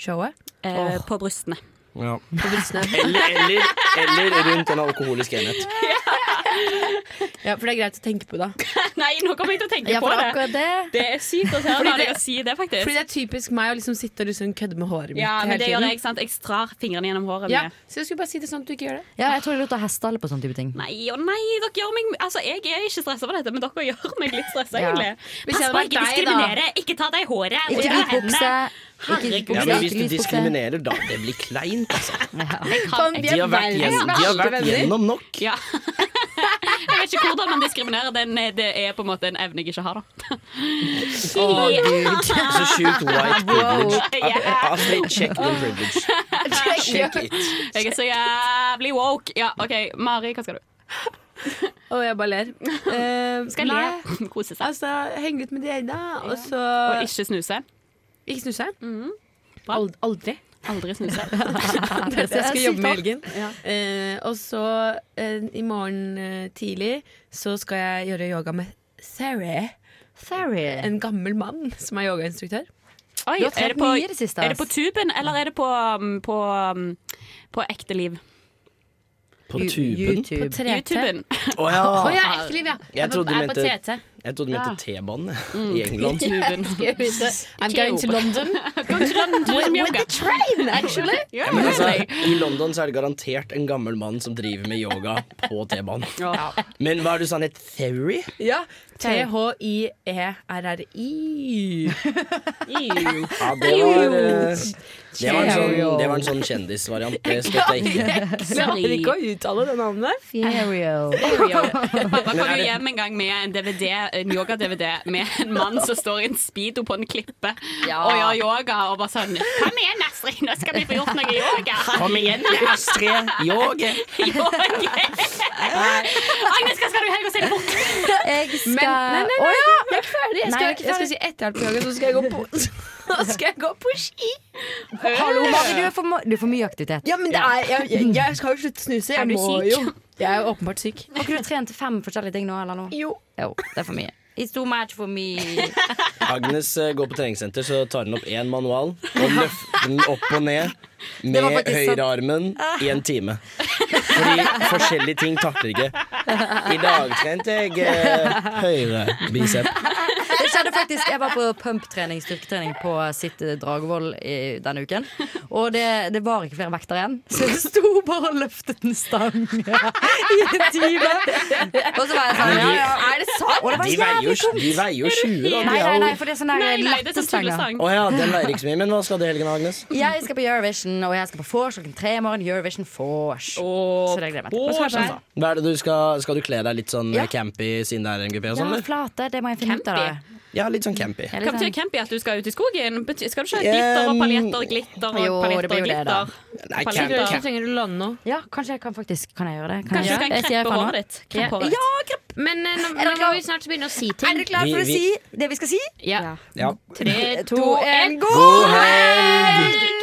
showet? Eh, På brystene. Ja. På brystene. Eller, eller, eller rundt en alkoholisk enhet. Ja, For det er greit å tenke på, da. Nei, nå kommer jeg til å tenke Ja, på for det. akkurat det. er sykt å Fordi høre det- deg si det, faktisk. Fordi det er typisk meg å liksom sitte og liksom kødde med håret mitt ja, men hele det gjør tiden. jeg, ikke sant? Jeg strar fingrene gjennom håret. Ja, med- så jeg skulle bare si det sånn at du ikke gjør det. Ja, jeg tror det er lurt å heste alle på sånne type ting. Nei, å nei, dere gjør meg Altså, jeg er ikke stressa for dette, men dere gjør meg litt stressa, Ja. egentlig. Hvis Pass jeg hadde på, vært ikke deg, da. diskriminere. Ikke ta deg i håret. Ikke Ikke hvit hendene. bukse. Herregud. Ja, men hvis du diskriminerer, da det blir kleint, altså. Faen, De har vært, gjennom, de har vært gjennom nok. Ja. Jeg vet ikke hvordan man diskriminerer. Den, det er på en måte en evne jeg ikke har, da. Å, Gud. Så sjukt white privilege. Wow. Yeah. Astrid, check din privilege. Check it. Jeg er så jævlig woke. Ja, OK. Mari, hva skal du? Og jeg bare ler. Eh, Skal nei, le. Kose seg. Altså, henge litt med de da, og så Og ikke snuse. Mhm. Ikke snuse? Ald aldri. Aldri snuse. det er det jeg skal jobbe med i helgen. Ja. Eh, og så eh, i morgen eh, tidlig så skal jeg gjøre yoga med Sarah. En gammel mann som er yogainstruktør. Oi, Du har trent er, det på, mye i det siste, er det på ass. tuben, eller er det på, um, på, um, på ekte liv? På tuben? På 3T. YouTuben. Å ja. Å ja, ekte liv, ja. Jeg Jeg trodde du er på mente, TT. jeg trodde du mente T-banen Mm. Mm. jeg, i England. I'm going to London. Going to London with, with yoga. the train, actually. Yeah, Men altså, I London så er det garantert en gammel mann som driver med yoga på T-banen. Ja. Men hva er det du sa han het? Theory? Ja. E T-h-i-e-r-r-i. Ja, det var, eh, det var en sånn, Theo. det var en sånn kjendisvariant. Det støtter jeg ikke. klarer ikke å uttale det navnet. Pappa kom jo hjem en gang med en, DVD, en yoga-DVD med en mann som står i en speedo på en klippe og gjør yoga. Og bare sånn Kom igjen, Astrid, nå skal vi få gjort noe yoga. Kom igjen, Astrid. Yoga. yoga. Agnes, hva skal du i helga? Se det bort! Jeg skal Men, nei, nei, nei, Oi. jeg er ikke ferdig. Jeg Nei, skal, ikke jeg skal si etterhjelp på yoga, så skal jeg gå på Nå skal jeg gå på ski. Hallo, Mari, du er for, ma- du er for mye aktivitet. Ja, men det er, jeg, jeg, jeg skal jo slutte å snuse. Er Jeg du må syk? jo. Jeg er jo åpenbart syk. Har ikke du trent fem forskjellige ting nå, eller noe? Jo. det er for mye. It's too much for me. Agnes eh, går på treningssenter, så tar hun opp én manual og løfter den opp og ned Det var med faktisk sant. høyrearmen i en time. Fordi forskjellige ting takler ikke. I dag trente jeg eh, høyre bicep. Det skjedde faktisk, Jeg var på pumptrening, styrketrening på sitt eh, Dragvoll i denne uken. Og det, det var ikke flere vekter igjen, så jeg sto bare og løftet en stang i en time. Og så var jeg sånn ja, ja, Er det sant? Og det var De veier jo, jævlig tungt. de veier jo 20, da. Nei, De nei, er nei, jo- for det er sånn Nei, der nei, det er lette sånn stanger. tullesang. Å ja, den veier ikke så mye. Men hva skal du i helgen, Agnes? Jeg skal på Eurovision, og jeg skal på vors klokken tre i morgen. Eurovision vors. Så det sånn gleder jeg meg til. vors, altså. Hva er det du skal, skal du kle deg litt sånn Ja. eh, campy siden det er MGP og Ja, sånn? eller? flate. Det må jeg finne ut av. da. Ja, litt sånn campy. Jeg er Hva litt betyr sånn- campy? At du skal ut i skogen? Bety- Skal du ikke ha glitter og paljetter og glitter og Jo, det paljetter blir jo og det, da. glitter? Nei, Paljetter. camp, camp. Trenger du lande nå? Ja, kanskje jeg kan faktisk Kan jeg gjøre det? Kanskje jeg du kan gjøre det? Jeg sier kreppe faen nå. håret ditt? Kreppe håret ditt. Ja, krepp. Men eh, nå, Er nå det må klar? vi snart begynne å si ting. Er dere klare for Vi- å vi- si det vi skal si? Ja. Ja. Tre, To, to, en, en, god God helg!